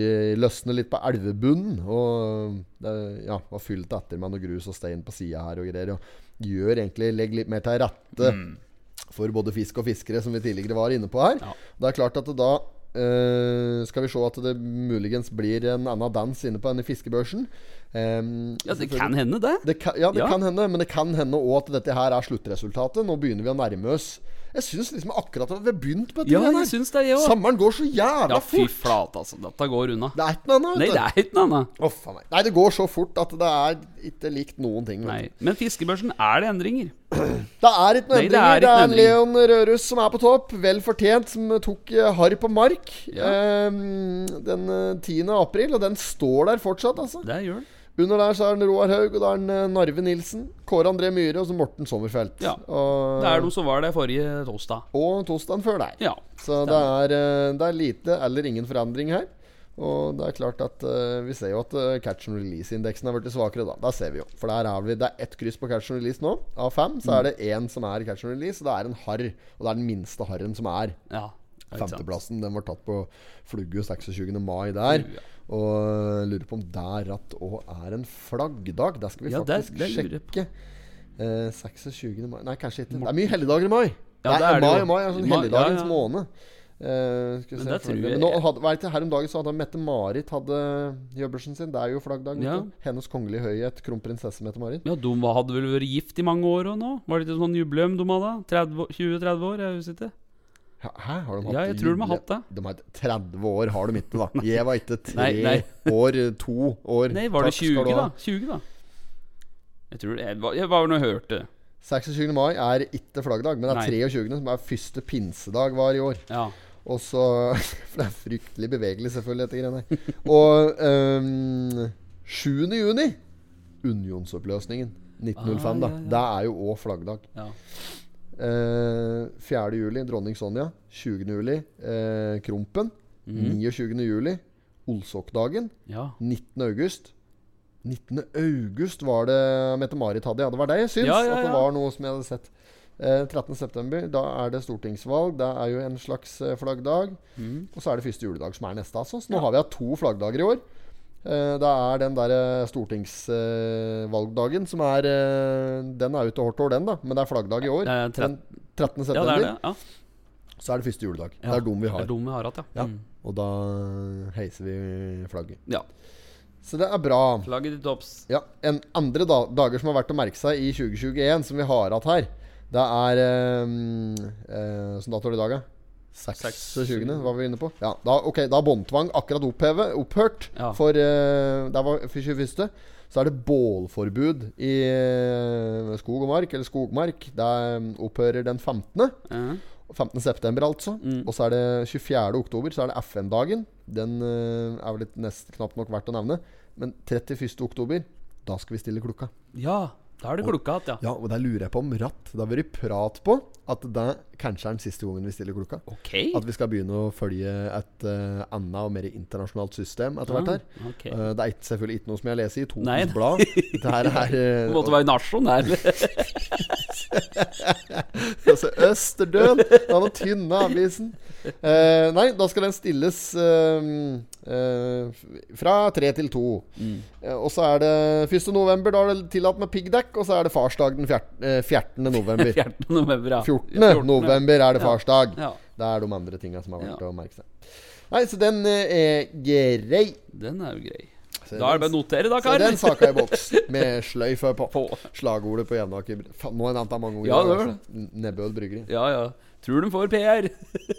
eh, løsnet litt på elvebunnen. Og det ja, var fylt etter med noe grus og stein på sida her og greier. Og gjør egentlig Legger litt mer til rette for både fisk og fiskere, som vi tidligere var inne på her.
Mm. Ja.
Det er klart at det da eh, skal vi se at det muligens blir en annen dans inne på denne fiskebørsen. Ehm,
Ja, det
selvfølgelig-
kan hende, det.
det kan, ja, det
Ja.
kan hende, men det kan hende òg at dette her er sluttresultatet. Nå begynner vi å nærme oss. Jeg syns liksom akkurat at vi har begynt på dette.
Ja,
greiene her.
jeg syns det, jeg òg.
Sommeren går så jævla
Ja, fy
fort.
flate, altså. Dette går unna.
Det er ikke noe annet. vet
Nei, det
du.
er ikke noe annet.
Å, faen meg. Nei, det går så fort at det er ikke likt noen ting. vet
Nei.
du.
Men fiskebørsen er det endringer.
Det er ikke noe
Nei, det er
endringer. Det
ikke noe
er,
endringer.
Leon Rørus som er på topp. Vel fortjent, som tok eh, harr på mark
Ja.
ehm, den eh, 10. april. Og den står der fortsatt, altså.
Det gjør det.
Under der så er det Roar Haug, og da er det eh, Narve Nilsen, Kåre André Myhre og så Morten Sommerfelt.
Ja.
Og,
Det er de som var der forrige torsdag.
og torsdagen før der.
Ja.
Så det er, eh, det er lite eller ingen forandring her. Og det er klart at eh, vi ser jo at eh, catch and release-indeksen har blitt svakere, da. Der ser vi jo. For der er vi, det er ett kryss på catch and release nå. Av fem så er det én som er catch and release, og det er en harr. Og det er den minste harren som er.
ja. Ikke sant.
Femteplassen den var tatt på Flugge 26. mai der. Og eh, lurer på om der at òg er en flaggdag. Det skal vi
Ja, det-
faktisk
det lurer jeg på.
sjekke. Eh, 26. mai Nei, kanskje ikke. Det er mye helligdager i mai.
Ja,
det er,
det er det
mai,
jo.
mai er sånn
I mai,
helligdagens
ja, ja.
måned. Eh, skal vi
Men
se
det
for-
tror
men
jeg-
nå hadde, var det ikke her om dagen så hadde Mette-Marit hadde jøbelsen sin. Det er jo flaggdag. vet
Ja.
du. Hennes kongelige høyhet, kronprinsesse Mette-Marit.
Ja, de var- hadde vel vært gift i mange år òg nå? Var det ikke sånn jubileum de hadde? 30 år- 20-30 år? Jeg husker ikke.
Hæ, hæ? har de hatt
Ja, jeg tror de har
jule-
hatt det.
De har hatt 30 år har de ikke, da. Jeg var ikke tre
Nei, nei.
år, to år.
Nei, var det
Takk skal
20,
du
da?
ha.
20 da Jeg tror det Jeg var- jeg var vel nå og hørte det.
26. mai er ikke flaggdag, men det
Nei.
er 23. som er første pinsedag var i år.
Ja.
Og så For det er fryktelig bevegelig, selvfølgelig, dette greiene her. Og øhm, 7. juni Unionsoppløsningen. 1905,
Ah,
da.
ja, ja.
Det er jo òg flaggdag.
ja.
Eh, 4. juli, dronning Sonja. 20. juli, eh, Krompen.
Mhm.
29. juli, Olsokdagen.
Mm. ja.
19. august. 19. august var det Mette-Marit hadde, ja. Det var det jeg syns.
Ja, ja,
At det
ja.
var noe som jeg hadde sett. Eh, 13. september, da er det stortingsvalg. Det er jo en slags eh, flaggdag.
mm.
Og så er det første juledag, som er neste. Altså. Så nå har vi hatt to flaggdager i år. Eh, det er den der eh, stortingsvalgdagen som er eh, Den er jo til hårdt år, den, da. Men det er flaggdag i år.
Det er
Den 13.
Ja,
september.
det er det. Ja.
Så er det første juledag.
Ja.
Det er dem vi
Det er
har.
dumme jeg har hatt, ja.
Ja.
Mm.
Og da heiser vi eh, flagget.
ja.
Så det er bra.
Flagget til topps.
Ja, en andre da dager som har vært å merke seg i 2021, som vi har hatt her, det er Hvilken eh, sånn dato er det i dag, da? 26. var vi inne på. Ja, da, ok, da er båndtvang akkurat opphevet, opphørt
Ja.
for eh, Der var 21. Så er det bålforbud i eh, skog og mark, eller skogmark. Det er, mm, opphører den 15.
Ja.
15. september, altså.
Mm.
Og så er det 24. oktober, så er det FN-dagen. Den eh, er vel litt nest, knapt nok verdt å nevne. Men 31. oktober, da skal vi stille klokka.
ja, da er det klokka igjen, ja.
Ja, og der lurer jeg på om Ratt Det har vært prat på at det kanskje er den siste gangen vi stiller klokka.
Ok.
At vi skal begynne å følge et eh, annet og mer internasjonalt system etter hvert her.
Ah, ok.
Eh, det er ikke, selvfølgelig ikke noe som jeg leser i
Nei,
Totens
nei.
Blad. Dette her er eh,
Du måtte være nasjonær.
altså Østerdøl! Den var tynne avisen. Eh, nei, da skal den stilles eh, eh, fra tre til to.
Mm.
Eh, og så er det 1. november, da er det tillatt med piggdekk. Og så er det farsdag den fjert- eh, 14. november. 14.
14. november, ja.
november er det
Ja.
farsdag.
Ja.
Det er de andre tinga som er verdt
Ja.
å merke seg. Nei, så den eh, er grei.
Den er jo grei.
Så
Da er det bare
den-
å notere, da,
så
kar.
den saka i boks, med sløyfe på.
På.
Slagordet på Jevnaker Faen, Nå har jeg nevnt det mange ganger.
Ja,
i dag,
det var
altså. N- Nebbøl bryggeri.
Ja, ja. Tror de får PR.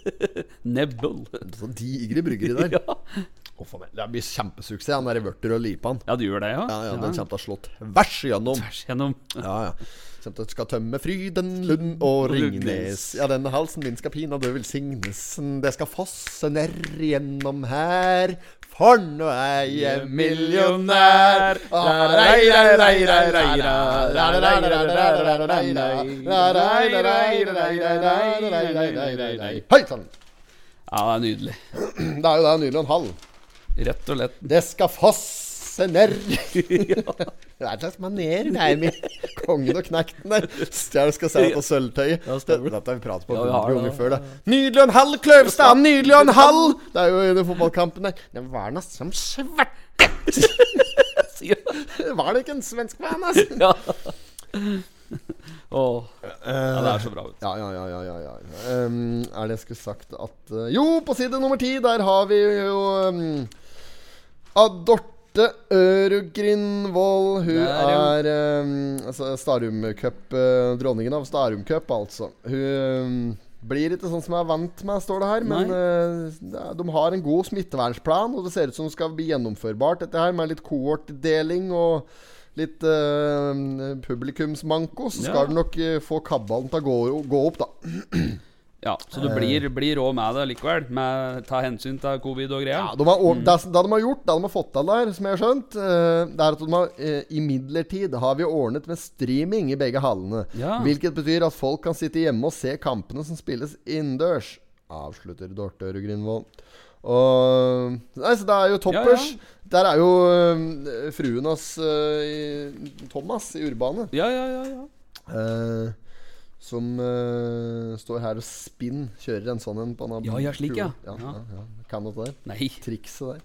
Nebbel.
Så digre bryggeri der.
Ja.
Å, faen, det blir kjempesuksess. Han der vørter og lipan.
ja, du gjør det, ja?
Ja, ja, den kommer til å slå tvers igjennom.
Tvers gjennom.
Ja, ja. Kommer til å skal tømme Fryden, Lund og Ringnes.
Ringnes.
Ja, denne halsen min skal pinadø velsignes. Det skal fosse ned gjennom her. For nå er jeg millionær. Hei sann!
Ja, det er nydelig.
Det er jo det, nydelig og en halv.
Rett og lett.
Det skal fosse ned
ja.
Det er et slags maner det er med kongen og knekten der. Stjerne skal se på sølvtøyet.
Ja,
Dette
stemmer.
har vi pratet på
Ja, vi har
hundre
det,
ganger
ja.
før. det Nydelig og en halv, Kløvstad! Nydelig og en halv! Det er jo i den fotballkampen der. Det var noe som svært
Sier han.
Var det ikke en svensk mann, altså?
Ja. Åh. Ja, det er så bra. vet du.
Ja, ja, ja. ja, ja, ja. Ehm, er det jeg skulle sagt at eh, Jo, på side nummer ti, der har vi jo um, Adorte Ørgrindvold. Hun
Der, ja.
er ehm, altså Starum Cup, eh, dronningen av Starum Cup, altså. Hun ehm, blir ikke sånn som jeg er vant med, står det her. Men
Nei.
eh, det er- de har en god smittevernplan, og det ser ut som det skal bli gjennomførbart, dette her, med litt kohortdeling og litt eh, publikumsmanko. Så
Ja.
skal du nok eh, få kabalen til å gå, gå opp, da.
Ja, Så
Eh.
du blir, blir rå med det likevel? Med Ta hensyn til covid og
Ja,
greier?
de har, og- det, som- det de har gjort, det de har fått til der, som jeg har skjønt, eh, det er at de har eh, imidlertid har vi ordnet med streaming i begge hallene.
Ja.
Hvilket betyr at folk kan sitte hjemme og se kampene som spilles innendørs. Avslutter Dorte Grindvold. Og Nei, så det er jo toppers.
Ja,
Der er jo eh, fruen hans eh, i- Thomas i Urbane.
Ja, ja, ja. ja.
Eh, som eh, står her og spinn Kjører en sånn en på en annen
Ja, ja, slik, ja.
Ja, ja,
Ja.
ja. Kan noe der.
Nei.
Trikset der.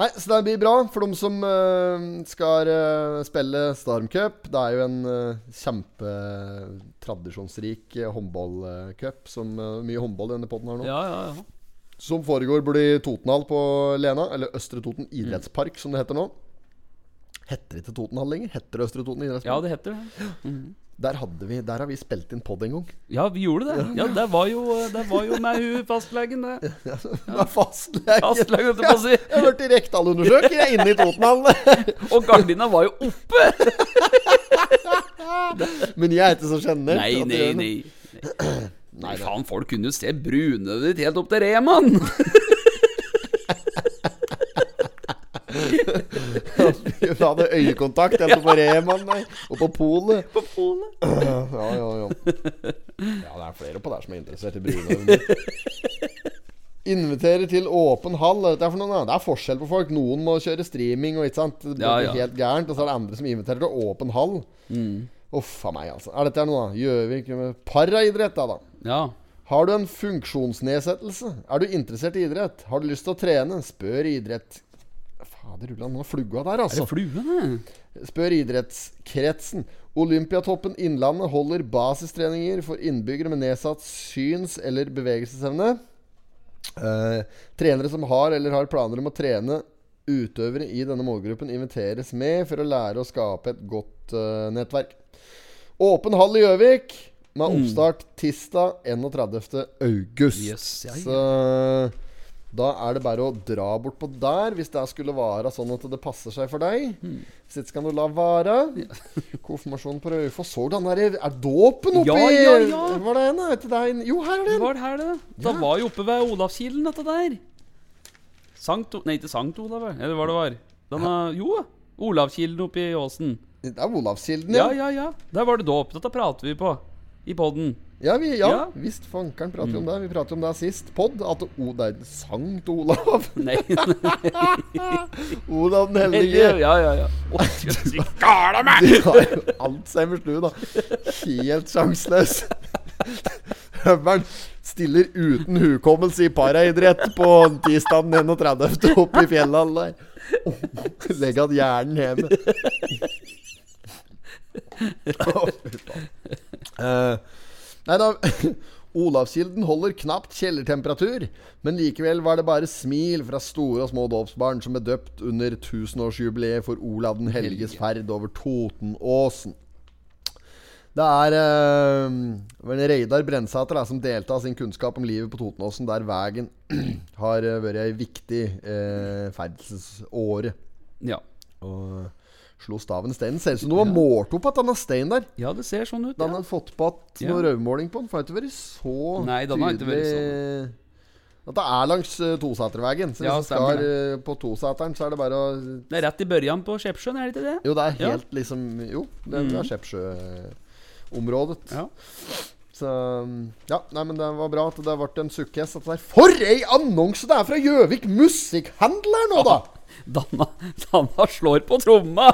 Nei, så det blir bra for dem som eh, skal eh, spille Stormcup. Det er jo en eh, kjempetradisjonsrik eh, håndballcup. Som eh, mye håndball i denne potten her nå.
Ja, ja, ja.
Som foregår blir i Totenhall på Lena. Eller Østre Toten idrettspark, som det heter nå. Heter det ikke Totenhall lenger? Heter det Østre Toten idrettspark?
Ja, det heter det.
Der, hadde vi, der har vi spilt inn pod en gang.
Ja, vi gjorde det. Ja, Det var jo, det var jo med hun fastlegen, det.
Med fastlege.
Fastlege, holdt jeg på å si.
Jeg har vært i rektalundersøker, jeg er inne i Totenhallen.
Og gardina var jo oppe!
Men jeg er ikke så sjenert.
Nei,
at jeg
nei,
gjør
nei.
noe.
Nei, faen, folk kunne jo se brunøyet ditt helt opp til Reman!
Vi hadde øyekontakt helt på Reman nei. og på polet.
På polet.
Ja, ja, ja. Ja, det er flere på der som er interessert i brunøyne. Inviterer til åpen hall. er dette for noen, da? det er forskjell på folk. Noen må kjøre streaming, og ikke sant? Det blir
Ja, Mm. ja.
helt gærent. Og så er det andre som inviterer til åpen hall. Uff a meg, altså. Er dette noe, da? Gjøvik Paraidrett, da, da.
Ja.
Har du en funksjonsnedsettelse? Er du interessert i idrett? Har du lyst til å trene? Spør idrett... Fader ulla, nå er flugga der,
Er
altså.
det flue, det?
Spør idrettskretsen. Olympiatoppen Innlandet holder basistreninger for innbyggere med nedsatt syns- eller bevegelsesevne. Eh, trenere som har eller har planer om å trene utøvere i denne målgruppen inviteres med for å lære å skape et godt eh, nettverk. Åpen hall i Gjøvik
Mm.
med oppstart tirsdag 31. august.
Yes, ja, ja.
Så da er det bare å dra bort på der, hvis det skulle være sånn at det passer seg for deg.
Hmm.
Hvis ikke skal du la være. Konfirmasjonen på Raufoss. Så du han der Er dåpen oppi
Ja, ja, ja.
Var det en? da? Etter deg? Jo, her er
Det
den!
var det her, det. Da
Ja.
var jo oppe ved Olavskilen, dette der. Sankt O... Nei, ikke Sankt Olav, vel? eller hva det var. Den er, jo, Olavskilen oppe i åsen.
Det er Olavskilden,
Ja, ja, ja. Der var det dåp. Dette prater vi på i poden.
Ja, vi, ja,
Ja. Hmm.
visst fankeren prater vi om det. Vi pratet om det sist. Pod. At o, det er Sankt Olav.
Nei,
Olav den hellige.
ja, ja, ja. Å, jøss, vi gala meg!
Du har jo alt seg med slu, da. Helt sjanseløs. Høveren stiller uten hukommelse i paraidrett på tirsdag den 31. oppe i fjellhallen der. Legg igjen hjernen hjemme. Å, fy faen. Eh, Nei da Olavskilden holder knapt kjellertemperatur, men likevel var det bare smil fra store og små dåpsbarn som ble døpt under tusenårsjubileet for Olav den helges ferd over Totenåsen. Det er eh, det var en Reidar Brensæter da, som delte av sin kunnskap om livet på Totenåsen, der veien har eh, vært ei viktig eh, ferdselsåre.
Ja.
Og slo staven i steinen. Ser ut som noe var målt opp av denne steinen der.
ja, det ser sånn ut.
Den
Ja.
har fått på at
Ja.
noe røvmåling på den. For det har ikke vært så
Nei, den har ikke vært
tydelig At det er langs uh, Tosatervegen. Så hvis
Ja,
du
stemmer
skal eh, på Tosateren, så er det bare å
Det er rett i børjan på Skjeppsjøen, er det ikke det?
Jo, det er
Ja. Mm.
helt liksom Jo, det er- det er Skjeppsjøområdet.
Ja.
Så Ja, nei, men det var bra at det ble en sukkes. dette der. For ei annonse det er fra Gjøvik Musikkhandler nå, da!
Danna, Danna slår på tromma!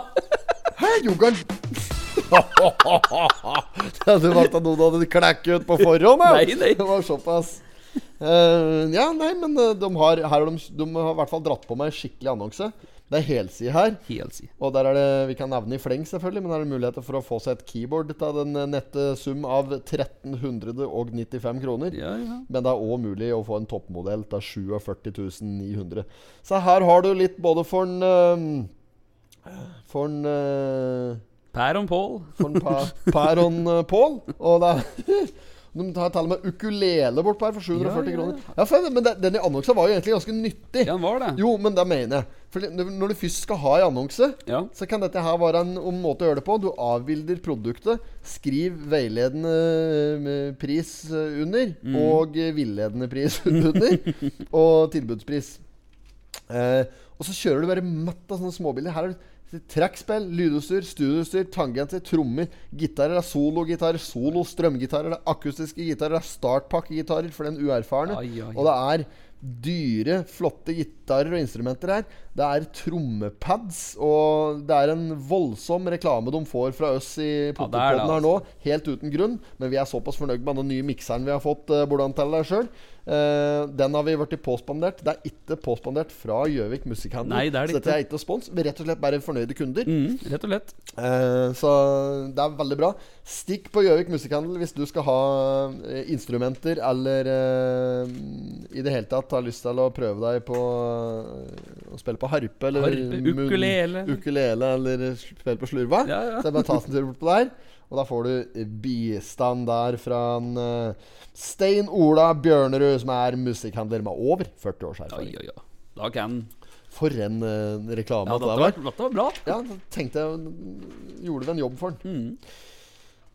Hæ, Jogan? ja, du valgte at noen hadde klekket ut på forhånd? ja.
Nei, nei.
Det var såpass. Eh, ja, nei, men eh, de har, her har de, de har i hvert fall dratt på meg en skikkelig annonse. Det er helside her.
Helt si.
Og der er det, Vi kan nevne i fleng, selvfølgelig, men der er det muligheter for å få seg et keyboard til den eh, nette sum av 1395 kroner.
Ja, ja.
Men det er òg mulig å få en toppmodell til 47 900. Så her har du litt både for en eh, For en eh,
Per og Pål.
for en pa, Per og en Pål. Og det er de tar til og med ukulele bort på her for 740
Ja, ja, ja.
kroner. Ja, for, men det, Denne annonsen var jo egentlig ganske nyttig.
Ja, den var det.
Jo, men det mener jeg. For det- når du først skal ha en annonse,
Ja.
så kan dette her være en, en måte å gjøre det på. Du avbilder produktet, skriv veiledende eh, pris eh, under, og eh, villedende pris under, og tilbudspris. Eh, og så kjører du bare matt av sånne småbilder. Her er det trekkspill, lydutstyr, studioutstyr, tangenter, trommer, gitarer. Det er sologitarer, solo strømgitarer, det er akustiske gitarer, det er startpakkegitarer for den uerfarne.
Ai, ai, ai.
Og det er dyre, flotte gitarer og instrumenter her. Det er trommepads, og det er en voldsom reklame de får fra oss i
det altså. er det,
Potterpodden her nå, helt uten grunn. Men vi er såpass fornøyd med den nye mikseren vi har fått, eh, hvordan til deg sjøl. Eh, den har vi blitt påspandert. Det er ikke påspandert fra Gjøvik Musikkhandel.
Nei, det er det
så dette er ikke spons. Vi er rett og slett bare fornøyde kunder.
Mm, rett og slett.
Eh, Så det er veldig bra. Stikk på Gjøvik Musikkhandel hvis du skal ha eh, instrumenter eller eh, i det hele tatt har lyst til å prøve deg på eh, å spille på harpe eller
Harpe,
mun-
ukulele.
ukulele eller spille på slurva.
Ja, ja.
Så det er bare å ta seg en tur bort på der. Og da får du bistand der fra en eh, Stein Ola Bjørnerud, som er musikkhandler med over 40 års
Oi,
erfaring.
oi, oi. Da kan
For en eh, reklame
Ja,
at det
dette
var.
var, dette var bra.
Ja, da tenkte jeg Gjorde vi en jobb for den.
Mm.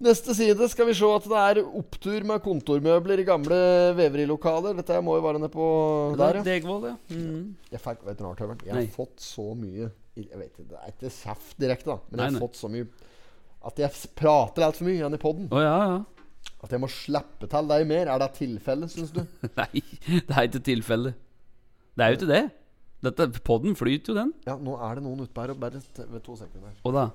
Neste side skal vi se at det er opptur med kontormøbler i gamle veverilokaler. Dette må jo være nede på der, ja.
Degvold, ja. Mm.
Jeg, fikk, vet du, noe, Tøveren? jeg
Nei.
har fått så mye Jeg vet ikke, Det er ikke kjeft direkte, da, men jeg
Nei,
har
nei.
fått så mye at jeg s- prater altfor mye igjen i poden.
Å ja, ja.
At jeg må slippe til deg mer. Er det tilfellet, syns du?
Nei, det er ikke tilfelle. Det er jo ikke det. Dette, podden flyter jo, den.
Ja, nå er det noen ute på her. og Bare t- ved to sekunder.
Å da.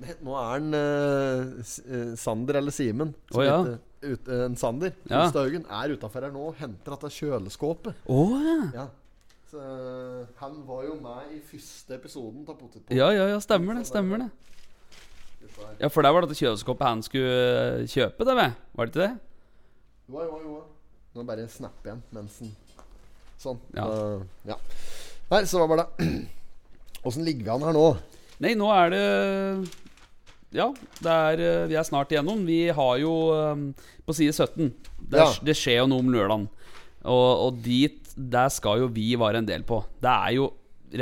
Nei, Nå er han eh, S- eh, Sander eller Simen. som
Å, ja.
heter- ut- eh, en Sander
Ja.
Hustaugen er utafor her nå og henter dette kjøleskåpet.
Å ja.
Ja. Så, eh, han var jo med i første episoden av Potetpop.
Ja, ja, ja, stemmer det. Stemmer det. Ja, for der var dette kjøleskapet han skulle eh, kjøpe, det, vel? Var det ikke det?
Jo, jo, jo. Nå bare snapper igjen mens han Sånn.
Ja.
Eh, ja. Nei, så var bare det. Åssen ligger vi an her nå?
Nei, nå er det Ja, det er, eh, vi er snart igjennom. Vi har jo eh, På side 17 Det,
Ja.
det skjer jo noe om lørdagen. Og, og dit Der skal jo vi være en del på. Det er jo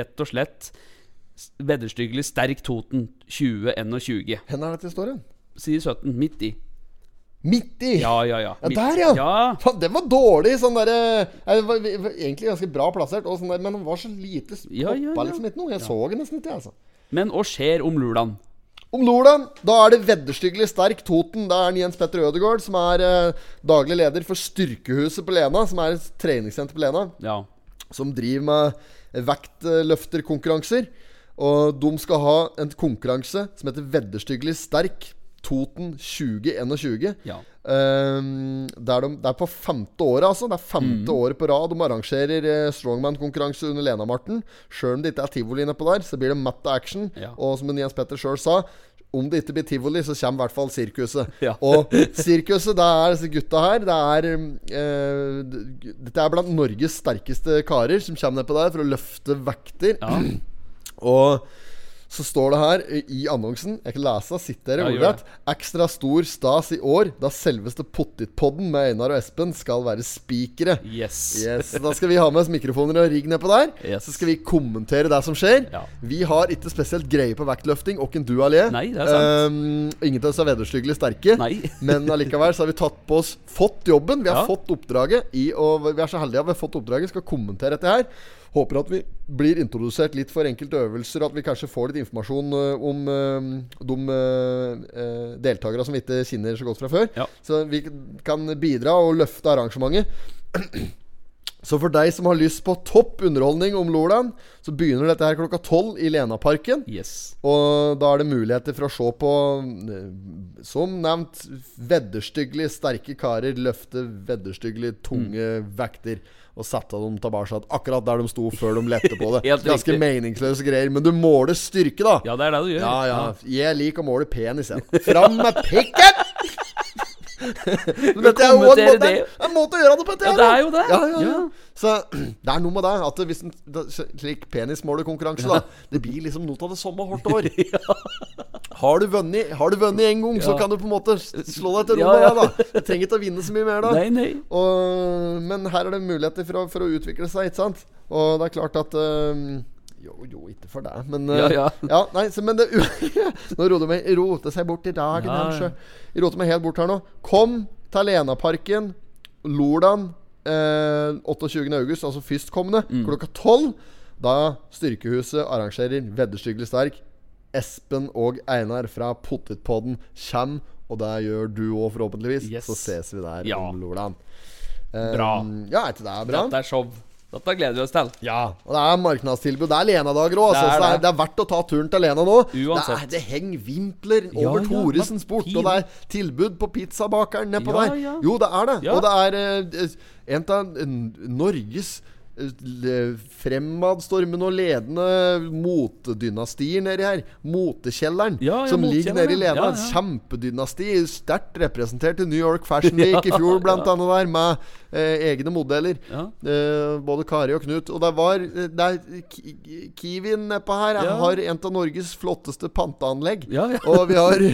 rett og slett s- Vedderstykkelig Sterk Toten 2021.
Hvor er dette står hen?
Side 17, midt i.
Midt i!
Ja, ja, ja.
Ja,
Midt-
der, ja.
ja.
Faen, den var dårlig! Sånn derre eh, det var- vi- vi- Egentlig ganske bra plassert, og sånn der, men den var så lite poppa
Ja, ja, ja.
liksom ikke noe. Jeg så den nesten ikke, jeg, altså.
Men hva skjer om lørdagen?
Om Nordland, da er det vedderstyggelig sterk Toten. Da er det Jens Petter Ødegaard, som er eh, daglig leder for Styrkehuset på Lena, som er et treningssenter på Lena,
Ja.
som driver med vektløfterkonkurranser. Og de skal ha en konkurranse som heter Vedderstyggelig sterk Toten 2021.
Ja.
Ehm, det, er de, det er på femte året, altså. Det er femte
Mm.
året på rad de arrangerer eh, strongman-konkurranse under Lena-Marten. Sjøl om det ikke er tivoli nedpå der, så blir det matt og action.
Ja.
Og som Jens Petter sjøl sa, om det ikke blir tivoli, så kommer i hvert fall sirkuset.
Ja.
Og sirkuset, det er disse gutta her. Det er eh, d- Dette er blant Norges sterkeste karer som kommer nedpå der for å løfte vekter.
ja.
Og så står det her i- i annonsen Jeg kan lese, sitter
Ja,
dere
gjør
ordrett. Ekstra stor stas i år, da selveste Pottitpodden med Einar og Espen skal være spikere.
Yes.
Yes, Da skal vi ha med oss mikrofoner og rigg nedpå der.
Yes.
Så skal vi kommentere det som skjer.
Ja.
Vi har ikke spesielt greie på vektløfting, åkken du allé.
Nei, det er sant.
Um, ingen av oss er vederstyggelig sterke.
Nei.
Men allikevel så har vi tatt på oss Fått jobben. Vi har
Ja.
fått oppdraget. I, og vi er så heldige at vi har fått oppdraget. Skal kommentere dette her. Håper at vi blir introdusert litt for enkelte øvelser, og at vi kanskje får litt informasjon øh, om øh, de uh, deltakerne som vi ikke kjenner så godt fra før.
Ja.
Så vi kan bidra og løfte arrangementet. Så for deg som har lyst på topp underholdning om Lolan, så begynner dette her klokka tolv i Lenaparken.
Yes.
Og da er det muligheter for å se på, eh, som nevnt, vedderstyggelig sterke karer løfte vedderstyggelig tunge
Mm.
vekter og sette dem tilbake akkurat der de sto før de lette på det.
Helt
Ganske
riktig.
meningsløse greier, men du måler styrke, da.
Ja, det er det du gjør.
Ja, ja. Jeg liker å måle penis, jeg. Fram med pikken! Men Dette er jo en
kommentere
måte,
det.
en måte å gjøre det på. dette
Ja,
her,
det
da.
er jo det.
Ja, ja, ja.
Ja.
Så det er noe med det. At hvis en da- slik penismålerkonkurranse, da Det blir liksom noe av det samme hvert år. Har du vunnet Har du vunnet en gang, så
Ja.
kan du på en måte slå deg til ro
Ja,
med
ja.
det, da. Du trenger ikke å vinne så mye mer da.
Nei, nei.
Og, men her er det muligheter for å, for å utvikle seg, ikke sant? Og det er klart at øhm, Jo, jo, ikke for deg, men øh,
Ja, ja.
nei, så, men det, Nå roter meg, rote seg bort i dagen,
Ja, ja.
kanskje. Roter meg helt bort her nå. Kom til Lenaparken, Lordan, eh, 28. august, altså førstkommende,
Mm.
klokka 12. Da Styrkehuset arrangerer Vedderstyggelig sterk. Espen og Einar fra Pottitpodden Kjem og det gjør du òg, forhåpentligvis.
Yes.
Så ses vi der
Ja.
om Lolan. Eh,
Bra.
Ja, er ikke det bra?
Dette er show. Dette gleder vi oss til.
Ja, og det er markedstilbud. Det er Lena-dager òg, altså.
Det
så
er
det, er-
det.
det er verdt å ta turen til Lena nå.
Uansett.
Det, er, det henger vimpler over
ja,
Thoresens
men
port, og
fin.
det er tilbud på pizzabakeren nedpå
Ja,
der.
ja.
Jo, det er det.
Ja.
Og det er eh, en av eh, Norges eh, le- fremadstormende og ledende motedynastier nedi her. Motekjelleren,
Ja, ja,
som ligger nede i
motekjelleren, ja.
Lena.
Ja, ja.
Kjempedynasti, sterkt representert i New York Fashion Week i fjor, blant annet der, med eh, egne modeller.
Ja.
Eh, både Kari og Knut. Og det var eh, det er ki ki- Kiwien nedpå her
Ja.
har en av Norges flotteste panteanlegg.
Ja, ja.
og vi har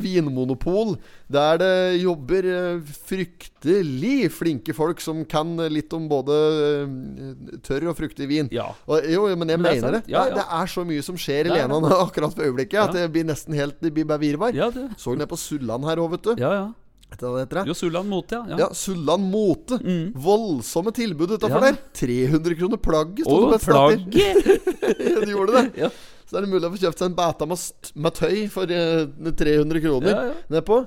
vinmonopol, der det jobber eh, fryktelig flinke folk som kan eh, litt om både eh, tørr og fruktig vin.
Ja.
Og, jo, jo, men jeg
Men det er
mener det.
sant. Ja,
Nei,
ja.
Det er så mye som skjer i
Det er
Lena
det.
nå akkurat for øyeblikket, at
Ja.
det blir nesten helt Det blir bare virvar.
Ja, det.
Så ned på Sulland her òg, vet du.
Ja, ja.
Vet du hva det heter?
Jo, Sulland Mote, ja. Mm.
Ja, Sulland Mote. Voldsomme tilbud utafor
Ja.
der. 300 kroner plagget sto
Og
det på et stativ.
plagget!
Du gjorde det.
Ja.
Så er det mulig å få kjøpt seg en bæta med, st- med tøy for eh, 300 kroner
Ja, ja.
nedpå.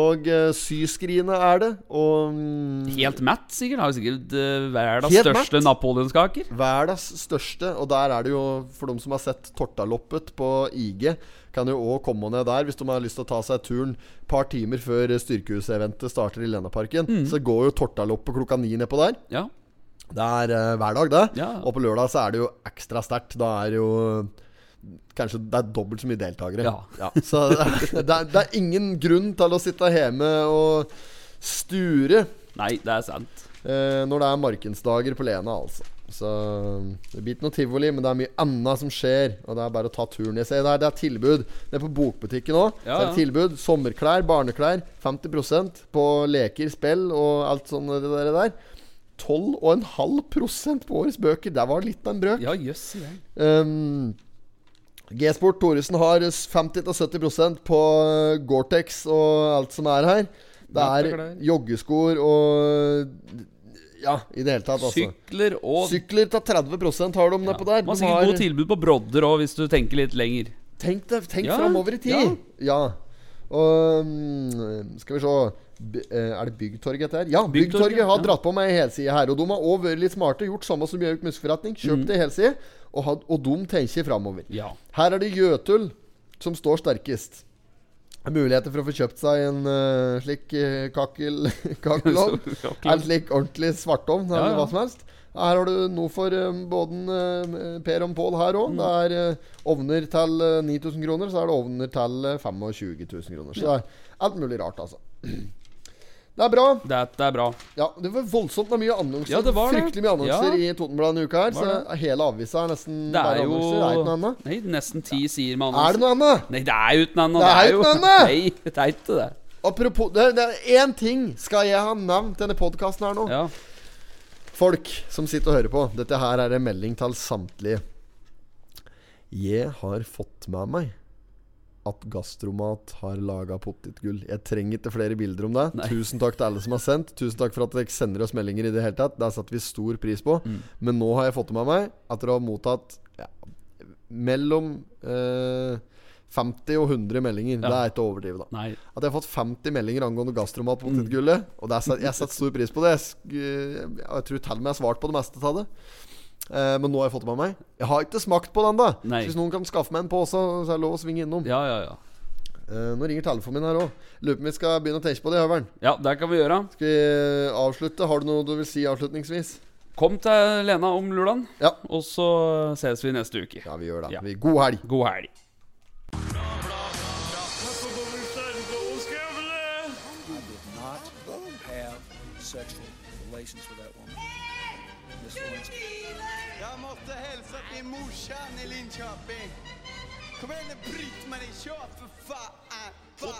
Og eh, syskrinet er det. Og mm,
Helt matt, sikkert. Har jo sikkert uh, verdens
Helt
største
matt.
napoleonskaker.
verdens største. Og der er det jo, for dem som har sett Tortaloppet på IG, kan jo òg komme ned der hvis de har lyst til å ta seg turen et par timer før Styrkehuseventet starter i Lennaparken.
Mm.
Så går jo Tortaloppet klokka ni nedpå der.
Ja.
Det er eh, hver dag, det.
Ja.
Og på lørdag så er det jo ekstra sterkt. Da er det jo Kanskje det er dobbelt så mye deltakere.
Ja.
Så det er, det, er, det er ingen grunn til å sitte hjemme og sture.
Nei, det er sant.
eh, når det er markedsdager på Lena, altså. Så eh, det blir ikke noe tivoli, men det er mye annet som skjer. Og det er bare å ta turen. Jeg ser der, det er tilbud nede på bokbutikken òg.
Ja, ja.
Tilbud. Sommerklær, barneklær. 50 på leker, spill og alt sånt det der. der. 12,5 på årets bøker. Det var litt av en brøk.
Ja, jøss. i dag.
Um, G-sport Thoresen har 50-70 på eh, Gore-Tex og alt som er her. Det er
Vinterklær.
joggeskoer og Ja, i det hele tatt, altså.
Sykler og
Sykler til 30 har de
Ja,
nedpå der.
Man har
De
sikkert
har-
gode tilbud på brodder òg, hvis du tenker litt lenger.
Tenk deg, tenk
Ja,
framover i tid. Ja. Og mm, skal vi se B eh, Er det Byggtorget dette her? Ja,
Byggtorget,
Byggtorget har
ja.
dratt på meg ei helside her. Og de har òg vært litt smarte, gjort samme som Gjøvik Muskeforretning. Kjøpt
Mm.
ei helside, og, had- og de tenker framover.
Ja.
Her er det Jøtul som står sterkest. Muligheter for å få kjøpt seg en eh, slik uh, kakel, kakelovn.
Kakelovn.
en slik ordentlig svartovn
Ja,
eller
ja.
hva som helst. Her har du noe for eh, både eh, Per og Pål her
Mm.
òg. Det er eh, ovner til eh, 9000 kroner, så er det ovner til eh, 25 000 kroner. Så det er alt mulig rart, altså. Det er bra.
Dette er bra.
Ja, Det var voldsomt mye annonser.
Ja, det var det.
Fryktelig mye annonser
Ja.
i Totenbladet denne uka her.
Var
Så hele avisa er nesten
Det er
bare
jo
annonser. Det er ikke noe annet.
Nei, nesten ti sider
Er
med
det
annonser.
noe annet?
Nei, det er uten annet.
Det er
jo-
uten annet!
Nei, det er ikke det.
Apropos Det det er én ting skal jeg ha nevnt denne podkasten her nå.
Ja.
Folk som sitter og hører på. Dette her er en melding til samtlige. Jeg har fått med meg at Gastromat har laga potetgull. Jeg trenger ikke flere bilder om det.
Nei.
Tusen takk til alle som har sendt. Tusen takk for at dere sender oss meldinger i det hele tatt. Det setter vi stor pris på.
Mm.
Men nå har jeg fått med meg at dere har mottatt ja, mellom eh, 50 og 100 meldinger. Det er ikke å overdrive, da.
Nei.
At jeg har fått 50 meldinger angående gastromat på potetgullet. Og det er, set- jeg setter stor pris på det. Jeg, sk- eh, jeg tror til og med jeg har svart på det meste av det. Eh, men nå har jeg fått det med meg. Jeg har ikke smakt på den, da.
Nei.
Så Hvis noen kan skaffe meg en pose, så er det lov å svinge innom.
Ja, ja, ja.
Eh, nå ringer telefonen min her òg. Lurer på om vi skal begynne å tenke på det, Høveren.
Ja, det kan vi gjøre.
Skal vi eh, avslutte? Har du noe du vil si avslutningsvis?
Kom til Lena om Lulan,
Ja.
og så ses vi neste uke.
Ja, vi gjør det.
Ja.
Vi- God helg.
God helg.
You did not have sexual relations with that woman. Miss Lewinsky.
Jag måste hälsa till morsan i Linköping. Kom igen nu Britt-Marie, kör för fan! Fan.